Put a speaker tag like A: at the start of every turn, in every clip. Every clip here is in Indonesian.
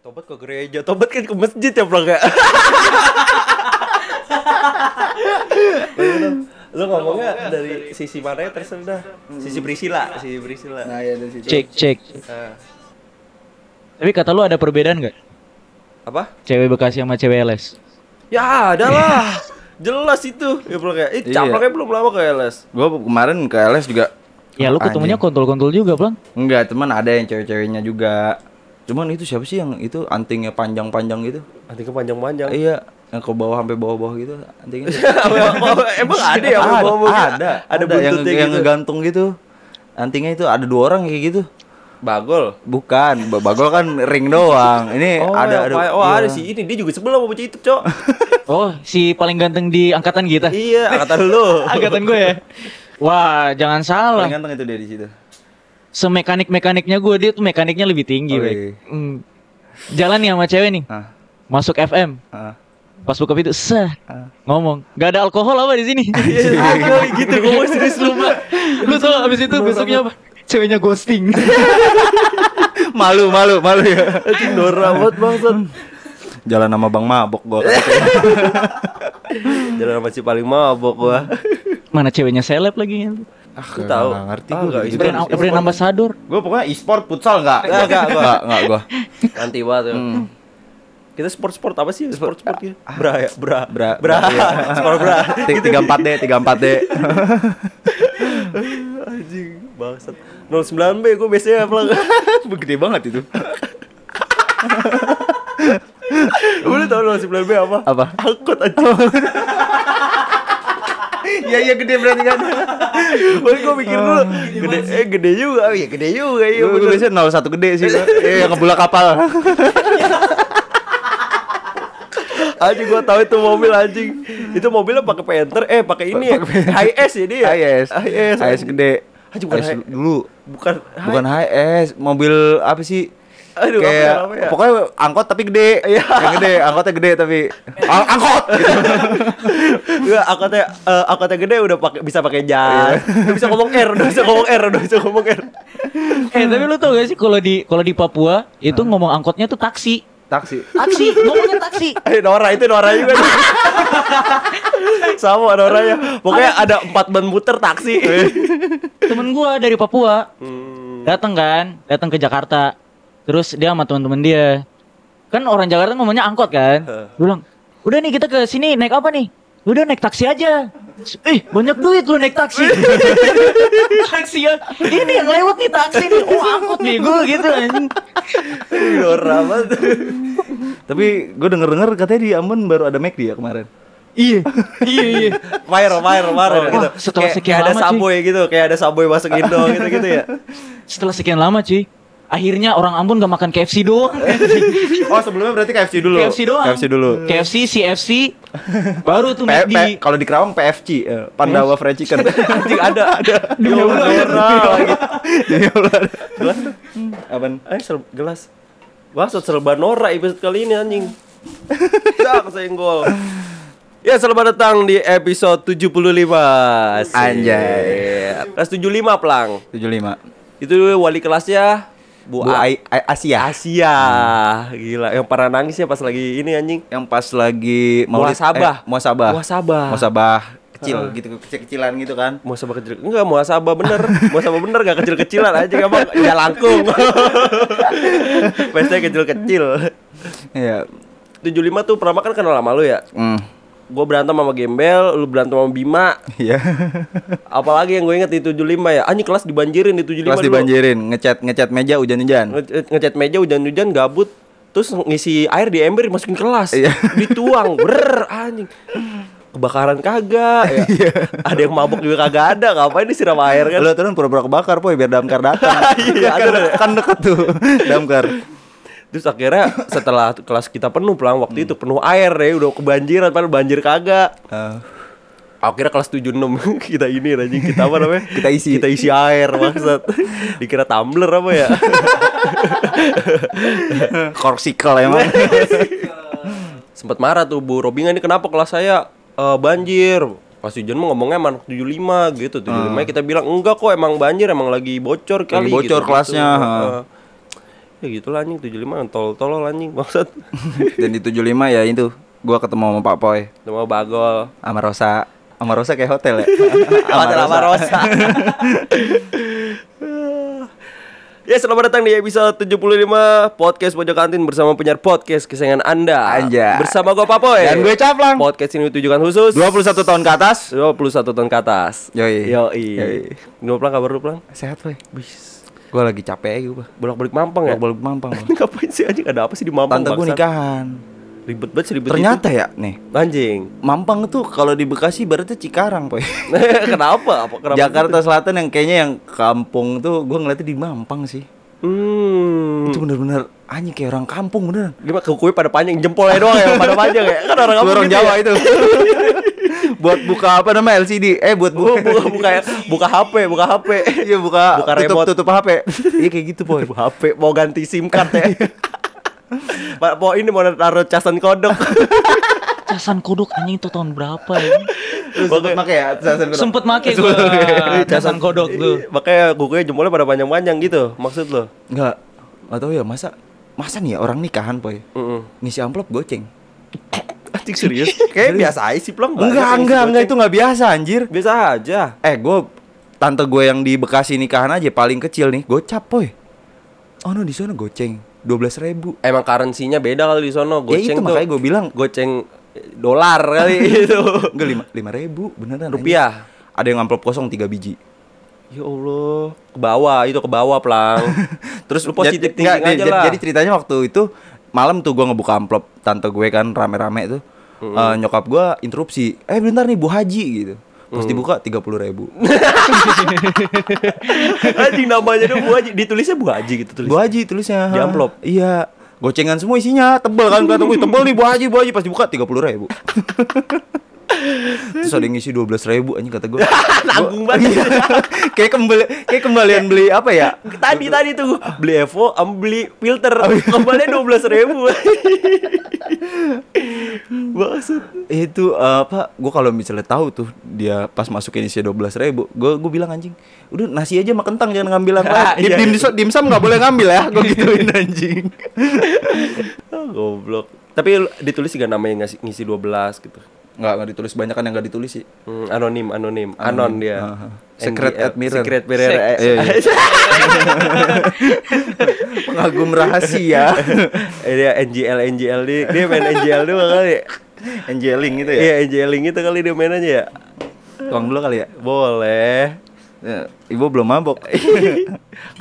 A: Tobat ke gereja, tobat kan ke masjid ya, Bro, enggak? Lu ngomongnya dari sisi mana ya terserah dah. Sisi Priscila, sisi Priscila.
B: Hmm. Nah ya dari situ.
C: Cek, cek.
A: Eh,
C: Tapi kata lu ada perbedaan nggak?
A: apa?
C: Cewek Bekasi sama cewek LS.
A: Ya, ada lah. Jelas itu. Ya, Bro, kayak eh
B: Iya.
A: caploknya belum lama ke LS.
B: Gue kemarin ke LS juga
C: Ya lu ketemunya
B: Anjing.
C: kontol-kontol juga, Bang.
B: Enggak, teman ada yang cewek-ceweknya juga. Cuman itu siapa sih yang itu antingnya panjang-panjang gitu?
A: Nanti ke panjang-panjang.
B: Iya, yang ke bawah sampai bawah-bawah gitu antingnya.
A: Emang ada ya
B: ada,
A: bawa-bawa gitu?
B: ada,
A: ada
B: ada, yang,
A: buntutnya
B: yang
A: gitu.
B: ngegantung gitu. Antingnya itu ada dua orang kayak gitu.
A: Bagol.
B: Bukan, ba- bagol kan ring doang. Ini
A: Oh,
B: Eh, ada ada.
A: oh ada
B: iya.
A: sih ini dia juga sebelah sama bocah itu, Cok.
C: Oh, si paling ganteng di angkatan kita.
A: iya, angkatan lu.
C: angkatan gue ya. Wah, jangan salah.
B: Paling ganteng itu dia di situ.
C: Semekanik-mekaniknya gue dia tuh mekaniknya lebih tinggi,
B: Oh,
C: Bek.
B: iya.
C: Hmm. Jalan nih sama cewek nih.
B: Ah,
C: Masuk FM.
B: ah.
C: Pas buka pintu, seh.
B: Ah.
C: Ngomong, gak ada alkohol apa di sini?
A: Iya, kali gitu ngomong serius lu, Pak.
C: Lu tau abis itu besoknya apa? Ceweknya ghosting.
B: Malu, malu, malu ya.
A: Anjing Dora banget bangsat.
B: Jalan sama Bang Mabok gua.
A: Jalan sama si paling mabok gua.
C: Mana ceweknya seleb lagi?
B: ah,
A: Lu tahu? Ah, nggak, itu
B: gitu.
C: Brand,
A: kan
C: brand ambassador.
B: Gue pokoknya e-sport futsal enggak?
A: Nggak, nggak, gua.
B: enggak, enggak gua.
A: Nanti banget. ya.
B: Hmm.
A: Kita sport-sport apa sih? Sport-sport gitu. Bra ya, bra.
B: Ah. Bra,
A: bra.
B: iya.
A: Sport bra.
B: Ti- 34D, 34D.
A: Anjing, bangsat. 09B gua biasanya pelang.
B: Gede banget itu.
A: Lu tau 09B apa?
B: Apa?
A: Angkot anjing.
B: Iya, iya gede berarti kan.
A: Baru gua mikir dulu, gede eh gede juga. Oh, iya gede juga. Iya
B: Gue
A: bener.
B: biasanya 01 gede sih. gua. Iya, yang ngebulak kapal.
A: Anjing gua tahu itu mobil anjing. Itu mobilnya pakai Panther eh pakai ini ya. HS ya dia.
B: IS.
A: HS.
B: IS gede.
A: Anjing, bukan
B: IS
A: hi-
B: dulu.
A: Bukan
B: Bukan HS, mobil apa sih?
A: Aduh, apa
B: kayak
A: ya, apa ya?
B: pokoknya angkot tapi gede.
A: Iya.
B: Yang gede, angkotnya gede tapi Ang- angkot gitu.
A: Enggak, akutnya eh, akutnya gede udah pakai bisa pakai jas.
C: Iya.
A: Udah bisa ngomong R, udah bisa ngomong R, udah bisa ngomong R.
C: Eh, tapi lu tau gak sih kalau di kalau di Papua itu ngomong angkotnya tuh taksi.
B: Taksi.
C: Taksi, ngomongnya taksi.
A: Eh Nora itu Nora juga. tuh. Sama Noranya. Pokoknya ada empat ban muter taksi.
C: Temen gua dari Papua
A: Hmm.
C: datang kan, datang ke Jakarta. Terus dia sama teman-teman dia. Kan orang Jakarta ngomongnya angkot kan.
A: Heeh.
C: Gua bilang, "Udah nih kita ke sini naik apa nih?" Udah naik taksi aja. Eh, banyak duit lu naik taksi. taksi ya. Ini yang lewat nih taksi nih. Oh, angkot bego gitu anjing.
A: Nora banget.
B: Tapi gue denger-denger katanya di Ambon baru ada McD ya kemarin.
C: Iya. Iya, iya.
A: Fire, fire, fire
C: Wah,
A: gitu.
C: Oh, setelah
A: kayak,
C: sekian
A: kayak ada
C: lama, cuy.
A: saboy gitu, kayak ada saboy masuk Indo gitu-gitu ya.
C: Setelah sekian lama, cuy. Akhirnya orang Ambon gak makan KFC doang.
B: Oh, sebelumnya berarti KFC dulu.
C: KFC doang.
B: KFC dulu.
C: KFC, CFC, baru tuh
B: P- P-
C: McD.
B: kalau di Kerawang PFC, eh, Pandawa Fried Chicken.
A: Anjing ada, ada.
C: Demi
A: Nora
C: Allah,
A: lagi.
B: Jadi ular. Apaan?
A: Eh, serb- gelas. Maksud serba Nora episode kali ini anjing. Dak senggol. Ya, selamat datang di episode 75. Asik.
B: Anjay.
A: Kelas 75, Plang.
B: 75.
A: Itu wali kelasnya Bu,
B: Bu Hmm.
A: A-
B: Ai- Ai- Asia.
A: Asia. Gila, yang parah nangis ya pas lagi ini anjing.
B: Yang pas lagi
A: Muasabah.
B: Eh, muasabah.
A: Muasabah.
B: Muasabah kecil gitu kecil-kecilan gitu kan.
A: Mau sama kecil enggak mau asaba bener mau asaba bener gak kecil kecilan aja emang ya langkung pesta kecil kecil
B: Iya.
A: 75 tuh pertama kan kenal sama lu ya
B: Hmm.
A: gue berantem sama Gembel, lu berantem sama Bima,
B: Iya.
A: apalagi yang gue inget di 75 ya. Anjing kelas dibanjirin di 75
B: Kelas
A: dulu.
B: dibanjirin, ngecat ngecat meja hujan-hujan.
A: Nge- Ngecat meja hujan-hujan gabut, terus ngisi air di ember masukin kelas.
B: Iya.
A: Dituang, ber anjing. Kebakaran kagak ya.
B: Iya.
A: ada yang mabuk juga kagak ada, ngapain disiram air kan.
B: Lu turun pura-pura kebakar, boy, biar damkar datang.
A: Iya,
B: kan,
A: ada-
B: kan deket tuh damkar.
A: Terus akhirnya setelah kelas kita penuh pelang waktu itu penuh air ya, udah kebanjiran padahal banjir kagak.
B: Eh,
A: Akhirnya kelas 76 kita ini anjing kita apa namanya?
B: Kita isi.
A: Kita isi air maksud. Dikira tumbler apa ya?
B: korsikal emang.
A: Sempat marah tuh Bu Robinga ini kenapa kelas saya eh, banjir? Pas hujan mah ngomongnya emang 75 gitu 75 kita bilang enggak kok emang banjir emang lagi bocor kali
B: bocor
A: gitu-gitu.
B: kelasnya, ha.
A: Eh, ya gitu lah anjing 75 tol tolol anjing maksud
B: Dan di 75 ya itu gua ketemu sama Pak Poy,
A: sama bagol
B: sama Rosa. Sama Rosa kayak hotel ya.
D: Hotel Amarosa.
A: Ya selamat datang di episode 75 Podcast Pojok Kantin bersama penyiar podcast kesayangan Anda
B: Anjay.
A: Bersama gue Papoy
B: Dan gue Caplang.
A: Podcast ini ditujukan khusus
B: 21 tahun ke atas.
A: 21 tahun ke atas
B: Yoi.
A: Yoi
B: Yoi.
A: Gimana Plang, kabar lu Plang?
B: Sehat, Poy. Gua lagi capek aja gua.
A: Bolak-balik mampang ya?
B: Bolak balik mampang. Bang.
A: Ngapain sih anjing ada apa sih di mampang
B: Tante gua
A: bangsat?
B: nikahan.
A: Ribet banget sih ribet
B: Ternyata ya nih.
A: itu. Anjing
B: Mampang tuh kalau di Bekasi berarti Cikarang, Poy.
A: Kenapa? Apa, kenapa
B: Jakarta
A: gitu?
B: Selatan yang kayaknya yang kampung tuh gua ngeliatnya di Mampang sih.
A: Hmm
B: Itu bener-bener anjing kayak orang kampung beneran.
A: Gimana kukunya pada panjang Jempolnya doang ya pada panjang ya Kan orang kampung
B: orang
A: gitu
B: Jawa
A: ya?
B: itu. buat buka apa namanya LCD? Eh buat
A: Bu- Oh,
B: buka
A: buka, buka, ya? buka HP, buka HP
B: Iya buka,
A: Buka
B: tutup,
A: remote.
B: tutup HP. Iya kayak gitu boy.
A: Aduh, HP mau ganti SIM card ya. Pak mau ini mau naruh casan kodok.
C: Casan kodok anjing itu tahun berapa ya?
B: Lu sempet make ya? Sempet make.
C: Sempet make gua
B: Iya,
C: casan kodok tuh.
A: Makanya kukunya jempolnya pada panjang-panjang gitu. Maksud lo?
B: Enggak. Enggak tahu ya masa masa nih ya orang nikahan boy.
A: Heeh.
B: Ngisi amplop goceng.
A: Anjing serius? Kayaknya biasa aja sih plong.
B: Enggak, enggak, enggak itu enggak biasa anjir.
A: Biasa aja.
B: Eh gue tante gue yang di Bekasi nikahan aja paling kecil nih gocap boy. Oh no di sana goceng dua belas ribu.
A: Emang currency-nya beda kali di sono.
B: Ya
A: Goceng
B: itu makanya gue bilang
A: goceng eh, dolar kali itu.
B: enggak lima lima ribu beneran. anjing.
A: Rupiah.
B: Ada yang amplop kosong tiga biji.
A: Ya Allah, ke bawah itu ke bawah plang. Terus lu positif
B: Jadi-
A: thinking
B: enggak,
A: aja
B: jadi-
A: lah.
B: Jadi ceritanya waktu itu malam tuh gua ngebuka amplop tante gue kan rame-rame tuh. Eh, nyokap gua interupsi. Eh bentar nih Bu Haji gitu.
A: Mm.
B: Terus dibuka 30.000 ribu
A: anjing namanya tuh Bu Haji, ditulisnya Bu Haji gitu tulis.
B: Bu Haji tulisnya
A: Di amplop?
B: Iya Gocengan semua isinya Tebel kan kelihatan "Wih, Tebel nih Bu Haji Bu Haji Pas dibuka 30.000 ribu Terus ada yang ngisi 12.000 ribu Anjing kata gue
A: Nanggung banget.
B: Kayak kembali Kayak kembalian beli apa ya
A: tadi tadi tuh
B: Ah.
A: beli Evo am beli filter
B: Oh, iya.
A: kembali dua belas ribu maksud
B: itu eh, apa gue kalau misalnya tahu tuh dia pas masuk Indonesia dua belas ribu gue gue bilang anjing udah nasi aja sama kentang jangan ngambil yang lain
A: Iya,
B: dim, dim, dimsum nggak boleh ngambil ya gue gituin anjing
A: Ah, goblok tapi lu- ditulis juga namanya ngisi ngisi dua belas gitu
B: nggak nggak ditulis banyak kan yang nggak ditulis sih
A: Hmm, anonim anonim anon dia
B: Aha. Ah, Secret
A: NDR,
B: admirer.
A: secret admirer
B: Sek-
A: eh,
B: iya, pengagum rahasia
A: eh, dia NGL NGL dia, dia main NGL doang kali
B: angeling gitu ya
A: iya NGLing itu kali dia main aja ya
B: tuang dulu kali ya
A: boleh
B: Ya, ibu belum mabok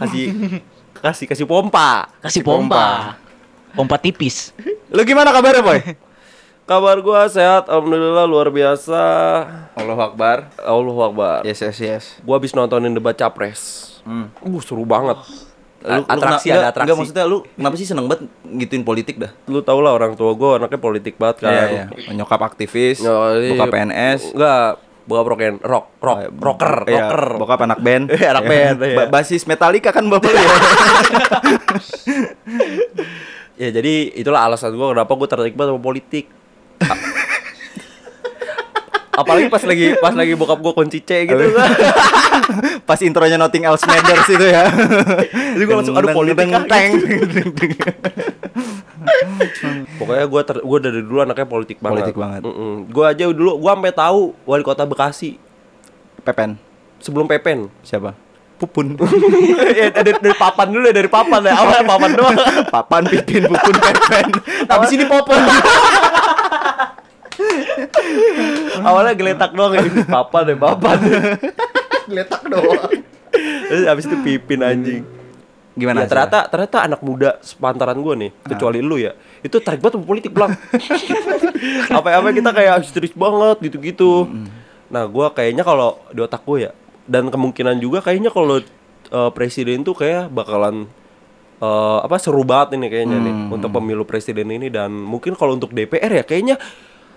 A: kasih kasih kasih pompa
C: Kasih pompa. Pompa tipis.
B: lu gimana kabarnya boy
A: kabar gua sehat alhamdulillah luar biasa
B: Allah Akbar
A: Allah Akbar
B: yes yes yes
A: Gua habis nontonin debat capres.
B: Hmm.
A: Uh, seru banget. A- atraksi ada atraksi.
B: Enggak maksudnya lu kenapa sih seneng banget gituin politik dah?
A: lu tau lah orang tua gua anaknya politik banget kan.
B: Iya, iya. Nyokap aktivis,
A: Nyokap-
B: buka PNS,
A: Enggak, bokap rock and rock, rock, Oh, rocker,
B: Iya,
A: rocker.
B: Bokap anak band.
A: Iya, anak band, iya.
B: Ba- Basis Metallica kan bapak lu ya.
A: Ya jadi itulah alasan gua kenapa gua tertarik banget sama politik. A- Apalagi pas lagi pas lagi bokap gua kunci C gitu kan.
B: Pas intronya Nothing Else Matters itu ya.
A: Jadi gua langsung, aduh, politik ah,
B: Teng, teng, teng.
A: Pokoknya gua ter, gua dari dulu anaknya politik banget.
B: Politik banget.
A: Mm-mm. Gua aja dulu gua sampai tahu wali kota Bekasi
B: Pepen.
A: sebelum Pepen.
B: Siapa? Pupun.
A: ya, dari, dari papan dulu ya, dari papan ya. Awalnya papan doang.
B: Papan Pipin Pupun Pepen. Habis ini Popon.
A: Awalnya geletak doang ya. Ini Papan ya, papan.
B: Letak doang.
A: Terus abis itu pipin anjing.
B: Gimana?
A: Ya, ternyata ternyata anak muda sepantaran gue nih,
B: Nah.
A: kecuali lu ya. Itu tarik banget sama politik, Blang. Apa-apa kita kayak histeris banget gitu-gitu. Nah, gua kayaknya kalau di otak gue ya dan kemungkinan juga kayaknya kalau eh, presiden tuh kayak bakalan eh, apa seru banget ini kayaknya nih untuk pemilu presiden ini dan mungkin kalau untuk DPR ya kayaknya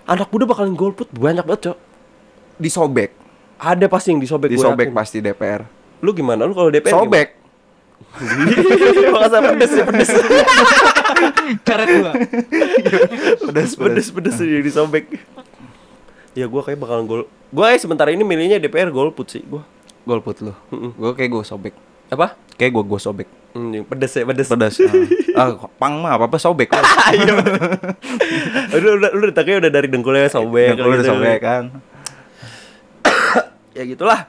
A: anak muda bakalan golput banyak banget, Cok.
B: disobek.
A: Ada pasti yang disobek gua
B: Disobek
A: yakin.
B: pasti DPR.
A: Lu gimana? Lu kalau DPR gimana?
B: Sobek.
A: Makasih pedes ya, pedes.
C: Karet gua.
A: pedes pedes pedes jadi disobek ya gua eh, kayak bakalan gol gua kayak sebentar ini milihnya DPR golput sih gua
B: Golput lu. Gue kayak gue sobek.
A: apa
B: kayak gua gua sobek
A: Hmm, pedes ya, pedes.
B: pedas ah, Ah, pang mah apa apa sobek lah
A: udah, udah, udah ditaknya udah dari dengkulnya sobek.
B: Kalau udah
A: gitu.
B: sobek kan
A: Ya gitulah.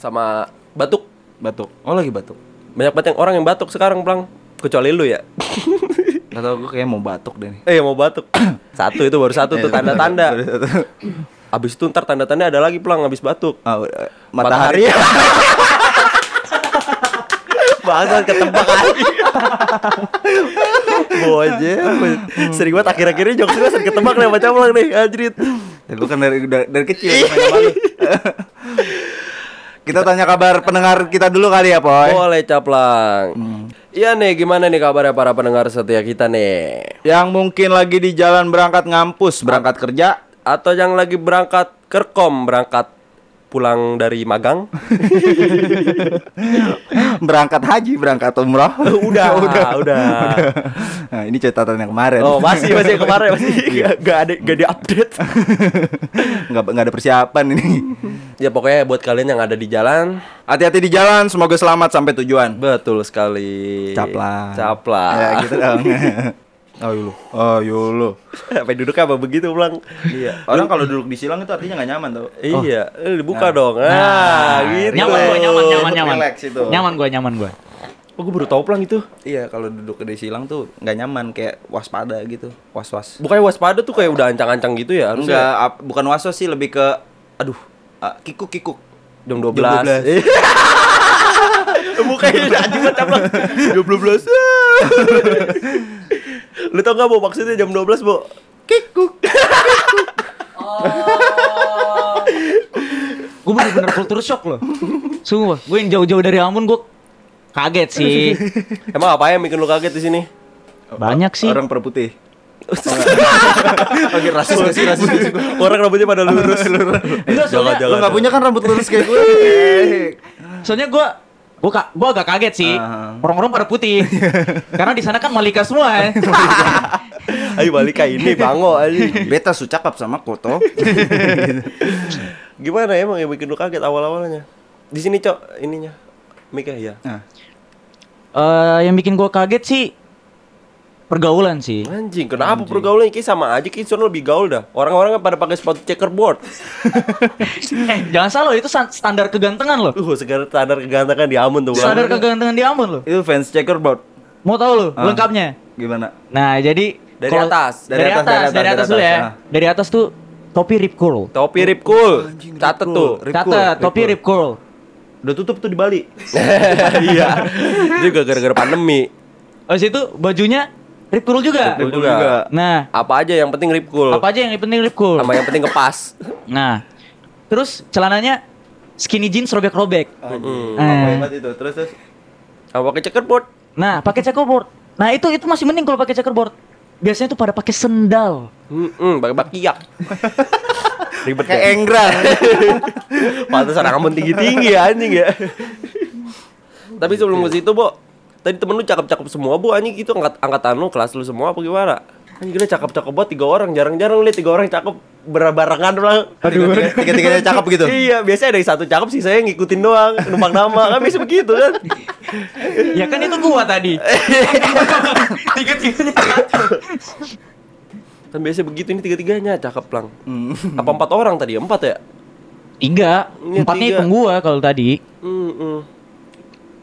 A: Sama batuk.
B: batuk oh lagi batuk
A: Banyak banget yang orang yang batuk sekarang, Blang. Kecuali lu ya.
B: Gak tau gue kayak mau batuk deh nih
A: Eh, mau batuk. satu itu baru satu tuh tanda-tanda. Abis itu ntar tanda-tanda ada lagi, Blang, abis batuk.
B: Ah, udah. matahari
A: Bangsat ketebak aja. Bojel, bojel. sering banget akhir-akhirnya jokes gue sering ketebak nih macam Blang nih, anjrit.
B: Ya, gue kan dari, dari, dari kecil main sama lu. Kita tanya kabar pendengar kita dulu kali ya Poy
A: Boleh caplang. Iya nih, gimana nih kabarnya para pendengar setia kita nih?
B: Yang mungkin lagi di jalan berangkat ngampus Berangkat kerja
A: Atau yang lagi berangkat kerkom, berangkat pulang dari magang?
B: Berangkat haji Berangkat umroh
A: udah, udah, Ah, udah.
B: Nah, ini catatan yang kemarin
A: Oh, masih masih yang kemarin masih Gak- gak ada gak di-update.
B: nggak, nggak ada persiapan ini
A: ya pokoknya buat kalian yang ada di jalan,
B: Hati-hati di jalan Semoga selamat sampai tujuan
A: betul sekali.
B: Caplang
A: Caplang.
B: Ya gitu dong Ayo lu Ayo lu
A: Apa duduknya apa begitu, Blang? Iya.
B: Orang kalau duduk di silang itu artinya gak nyaman tau
A: Iya, eh, dibuka dong. Ah, gitu.
C: Nyaman gua, nyaman, nyaman, nyaman.
B: Relax itu.
C: Nyaman gua, nyaman gua.
A: Oh, gue baru tahu Plang itu.
B: Iya kalau duduk di silang tuh nggak nyaman kayak waspada gitu was-was
A: Bukannya waspada tuh kayak udah ancang-ancang gitu ya?
B: Enggak
A: Harusnya
B: ap- bukan was-was sih lebih ke aduh ah, kikuk-kikuk
A: jam
B: Jam
A: 12. Mukanya udah anjing banget Cap, Blang.
B: Iya.
A: Jam 12. Lu tau gak, Bu, maksudnya jam 12, Bu?
B: kikuk
C: Gua bener-bener culture shock loh. Sumpah, gua yang jauh-jauh dari Ambon gua kaget sih.
A: Emang apa yang bikin lu kaget di sini?
C: Banyak sih.
B: orang perputih Oke rasis gak sih rasis gak sih gua?
A: Orang rambutnya pada lurus.
C: Enggak, soalnya-
B: Lu gak punya kan rambut lurus kayak gue
C: Soalnya gua gua, ka- gua agak kaget sih.
B: Ah.
C: Orang-orang pada putih. Karena di sana kan malika semua.
A: Ayo balik ke ini, bango aja.
B: Beta su cakap sama koto
A: Gimana emang yang bikin lu kaget awal-awalnya? Di sini, Cok, ininya. Mika ya.
B: Nah,
C: Eh, yang bikin gua kaget sih pergaulan sih.
A: Anjing, kenapa pergaulannya kayak sama aja kayak sono lebih gaul dah. Orang-orang kan pada pakai spot checkerboard.
C: eh, jangan salah loh, itu san- standar kegantengan loh.
A: Uh, sekarang standar kegantengan di Amun tuh. Bang.
C: Standar kegantengan di Ambon loh.
B: Itu fans checkerboard
C: Mau tahu loh
B: Ah.
C: lengkapnya.
B: Gimana?
C: Nah, jadi
A: Dari
C: kalau-
A: atas,
C: dari,
B: dari
C: atas, dari atas, dari atas dulu ya.
B: ah.
C: Dari atas tuh topi rip curl.
A: Topi Rip Cool. Catet tuh.
B: Rip curl,
C: Catat,
B: rip
C: topi
B: curl.
C: rip curl.
B: Udah tutup tuh di Bali
A: Iya. Juga gara-gara pandemi.
C: Habis itu bajunya rip curl juga.
A: Rip curl.
B: Juga.
A: juga.
C: Nah,
A: Apa aja yang penting Rip Cool.
C: apa aja yang penting rip curl.
A: Sama yang penting kepas.
C: Nah, terus celananya skinny jeans robek-robek.
A: Oh.
B: Anjing,
C: Eh.
B: apa hebat itu Terus terus
A: Sama pakai checkerboard.
C: Nah, pakai checkerboard. Nah, itu itu masih mending kalau pakai checkerboard. Biasanya tuh pada pakai sendal.
A: Hmm, pakai bakiak. Ribet
B: Kayak
A: ya.
B: enggrang
A: Pantas orang Amun tinggi-tinggi ya, anjing ya. Tapi sebelum ke situ, Bo. Tadi temen lu cakep-cakep semua, Bu. Anjing gitu angkat angkatan lu, kelas lu semua apa gimana? Anjing gila cakep-cakep banget tiga orang. Jarang-jarang lihat tiga orang cakep berbarengan Bang.
B: Tiga- Tiga-tiganya cakep gitu
A: Iya, biasanya ada yang satu cakep sih saya ngikutin doang, numpang nama. Kan biasa begitu kan.
C: ya kan itu gua tadi. Tiga-tiganya.
A: Kan biasanya begitu ini tiga-tiganya cakep lang.
B: Hmm.
A: Apa empat orang tadi? Empat ya?
C: Tiga,
A: Iya,
C: empatnya
A: tiga.
C: hitung gua kalau tadi.
A: Hmm.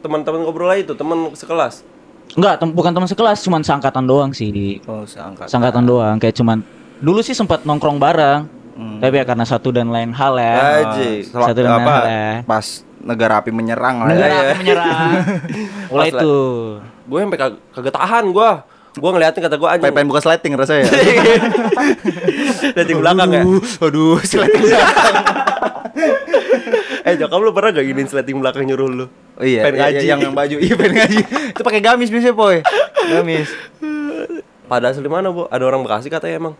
A: Teman-teman ngobrol aja itu, teman sekelas.
C: Enggak, tem- bukan teman sekelas, cuman seangkatan doang sih.
B: Oh seangkat
C: Seangkatan doang, kayak cuman dulu sih sempat nongkrong bareng. Tapi ya karena satu dan lain hal ya.
A: Hmm. Aji. Iya,
B: Sel-
C: Satu dan
B: apa,
C: lain hal ya.
B: Pas negara api menyerang lah
C: Negara
B: ya.
C: akan menyerang. Mulai
A: Pas lah.
C: itu.
A: Gue sampai kag- kagak tahan gua. Gua ngeliatin kata gua anjing.
B: Pengen buka sliding ya? rasanya.
A: Dari belakang ya.
B: Iya, Aduh, aduh, iya. sliding.
A: Eh, Jok, kamu lu pernah gak giniin sleting belakang nyuruh lu?
B: Oh iya,
A: Pengen
B: iya,
A: ngaji.
B: iya, yang, yang baju. Iya, pengen ngaji. Itu pakai gamis biasanya, Poy. Gamis.
A: Pada asli mana, Bu? Ada orang Bekasi katanya emang.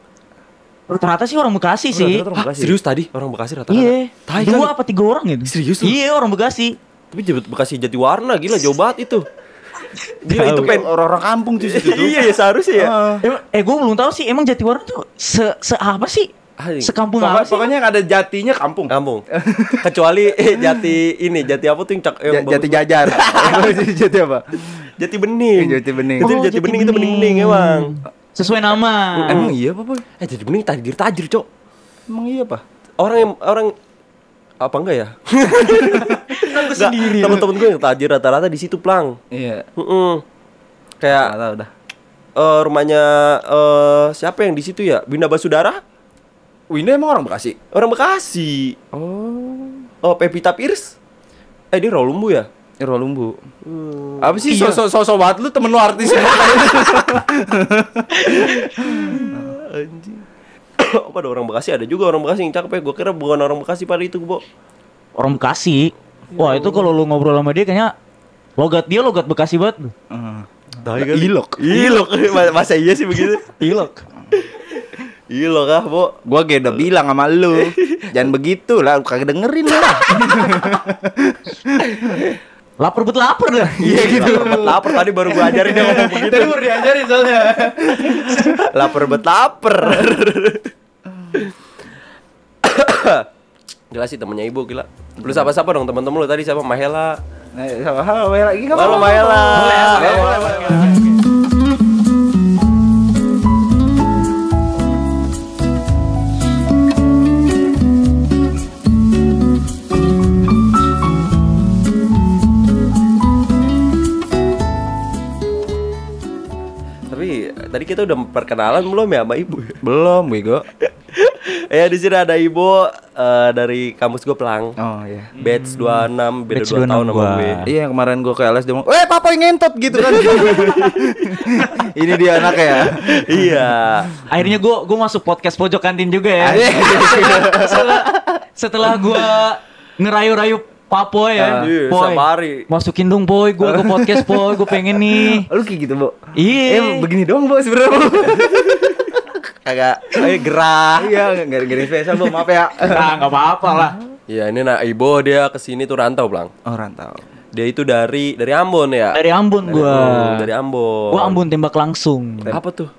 C: Ternyata sih orang Bekasi sih.
A: Ternyata orang Bekasi. Serius tadi orang Bekasi rata-rata.
C: Iya.
A: Tai
C: Dua
A: kali.
C: apa tiga orang gitu.
A: Serius lu?
C: Iya, orang Bekasi.
A: Tapi jebet Bekasi jadi warna gila jauh banget itu. Gila itu
B: Iya, Itu
A: pen
B: pengen orang-orang kampung tuh situ tuh.
A: iya ya seharusnya ya.
B: Ah.
C: Emang- eh gue belum tahu sih emang Jatiwarna tuh se, se apa sih?
A: Anjing.
C: Sekampung
B: Pokoknya,
C: apa sih?
B: pokoknya yang ada jatinya kampung.
A: Kampung. Kecuali eh, jati ini, jati apa tuh yang cak yang
B: Ja- jati
A: bagus?
B: jajar. Oh, jati apa?
A: Jati bening.
B: Iya, Jati bening.
A: Itu Oh, jati, bening, itu bening bening emang.
C: Sesuai nama.
B: Emang iya apa, Boy?
A: Eh jati bening tajir tajir cok.
B: Emang iya apa?
A: Orang yang orang apa enggak ya?
C: Aku
A: Nggak, Temen-temen gue yang tajir rata-rata di situ plang.
B: Iya.
A: Mm-mm. Kayak
B: Enggak tahu dah.
A: eh, rumahnya eh, siapa yang di situ ya? Binda Basudara?
B: Winda emang orang Bekasi.
A: Orang Bekasi.
B: Oh.
A: Oh, Pevita Pierce. Eh dia Rolumbu ya?
B: Irwa Lumbu. Apa sih
C: Iya.
B: sosok sosok banget lu temen lu artis semua.
A: Pada orang Bekasi ada juga orang Bekasi yang cakep ya. Gue kira bukan orang Bekasi pada itu, Bo.
C: Orang Bekasi. Wah itu kalau lu ngobrol sama dia kayaknya logat dia logat Bekasi banget.
B: Ilok.
A: Iya, Ilok. Masa iya sih begitu?
C: Ilok.
A: Ilok ah, Bo.
B: Gua kayak udah bilang sama lu, jangan begitu lah, lu kagak dengerin lah.
C: Lapar bet lapar dah.
A: Iya gitu. Lapar lapar tadi baru gue ajarin dia ngomong begitu.
B: Tadi baru diajarin soalnya.
A: Lapar bet lapar. Gila sih temennya ibu gila. Lu siapa-siapa dong teman-teman lu tadi siapa Mahela.
B: Nah, sama halo Maya lagi kamu.
A: Halo Mahela.
B: boleh, boleh, boleh.
A: Tapi tadi kita udah perkenalan belum ya sama ibu?
B: Belum, Wigo.
A: ya di sini ada ibu eh, dari kampus gue pelang.
B: Oh iya.
A: Batch 26 beda
C: Batch
A: 2 tahun sama
C: 26 gua.
A: gue.
B: Iya yang kemarin gua ke LS dia ngomong, "Eh, papa yang ngentot gitu kan." Ini dia anaknya ya.
A: iya.
C: Akhirnya gue gue masuk podcast pojok kantin juga ya. setelah setelah gue ngerayu-rayu Papoy ya,
A: Iya,
C: Poy,
A: setiap hari.
C: masukin dong Poy, gue ke podcast Poy, gue pengen nih.
B: Lu kayak gitu, Bo.
C: Iya.
B: Eh, begini doang, Bo, sebenarnya. Bo.
A: Kagak eh, gerah.
B: Iya, enggak ada garis spesial, Bo. Maaf ya.
C: Nah, nggak apa-apa lah.
A: Iya, ini nah ibu dia kesini tuh rantau pelang.
B: Oh, rantau.
A: Dia itu dari dari Ambon ya.
C: Dari Ambon gue,
A: Hmm, dari Ambon.
C: gue Ambon tembak langsung.
A: Apa tuh?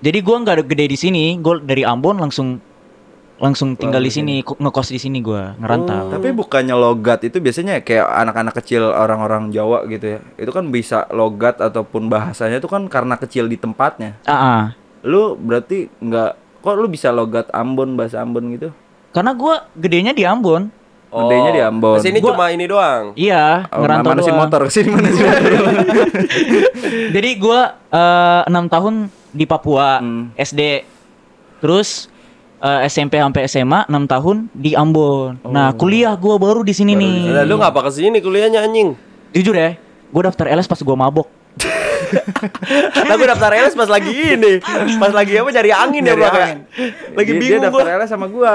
C: Jadi gue nggak ada gede di sini, gue dari Ambon langsung langsung tinggal di sini, ko- ngekos di sini gue ngerantau.
B: Tapi bukannya logat itu biasanya ya kayak anak-anak kecil orang-orang Jawa gitu ya. Itu kan bisa logat ataupun bahasanya itu kan karena kecil di tempatnya.
C: Ah, ah.
B: Lu berarti nggak kok lu bisa logat Ambon bahasa Ambon gitu?
C: karena gue gedenya di Ambon.
A: Oh,
B: Gedenya di Ambon.
A: Kesini
C: Gua-
A: cuma ini doang.
C: Iya,
B: Oh,
C: ngerantau
B: manasin
C: doang.
B: motor kesini manasin motor.
C: Jadi gua eh, enam tahun di Papua
B: Hmm.
C: SD, terus eh, SMP sampai SMA 6 tahun di Ambon. Nah kuliah gua baru di sini nih.
A: Lah lu ngapa kesini kuliahnya anjing?
C: Jujur ya, gua daftar LS pas gua mabok.
A: Lah gue daftar LS pas lagi ini. Pas lagi apa cari angin ya,
B: Nyari
A: Bang.
B: angin.
A: Lagi
B: Dia-
A: bingung
B: dia
A: gua.
B: daftar LS sama gua.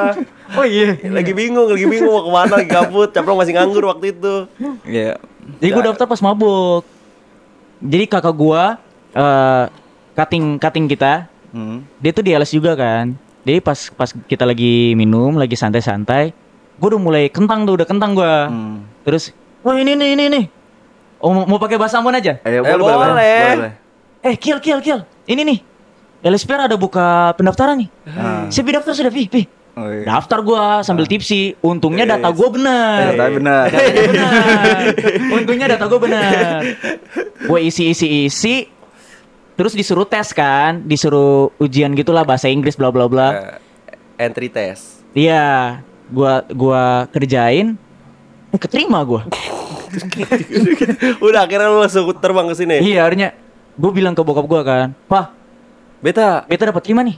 C: Oh iya.
A: Lagi bingung, lagi bingung mau kemana, lagi kabut. Caprong masih nganggur waktu itu.
B: Iya.
C: Jadi gua daftar pas mabok. Jadi kakak gua eh, cutting cutting kita,
B: Hmm.
C: dia tuh di LS juga kan. Jadi pas pas kita lagi minum, lagi santai-santai, gua udah mulai kentang tuh, udah kentang gua.
B: Hmm.
C: Terus, wah ini nih ini nih. Oh mau, mau pakai bahasa Ambon aja?
A: Eh,
B: Ayo, boleh, boleh,
A: boleh.
B: boleh.
C: Eh, kill kill kill. Ini nih. LSPR ada buka pendaftaran nih.
B: Ah.
C: Saya pi daftar sudah pi pi.
B: Oh, iya.
C: Daftar gua sambil tipsi. Untungnya Hmm. data gua
B: Eh,
C: benar.
B: tapi benar.
C: Untungnya data gua benar. Gua isi isi isi. Terus disuruh tes kan, disuruh ujian gitulah bahasa Inggris bla bla bla.
A: Eh, entry test.
C: Iya, gua gua kerjain. Eh, Keterima gua.
A: Udah akhirnya lu langsung terbang ke sini.
C: Iya, akhirnya gua bilang ke bokap gua kan, "Pak,
A: Beta. Eh.
C: beta dapat lima nih.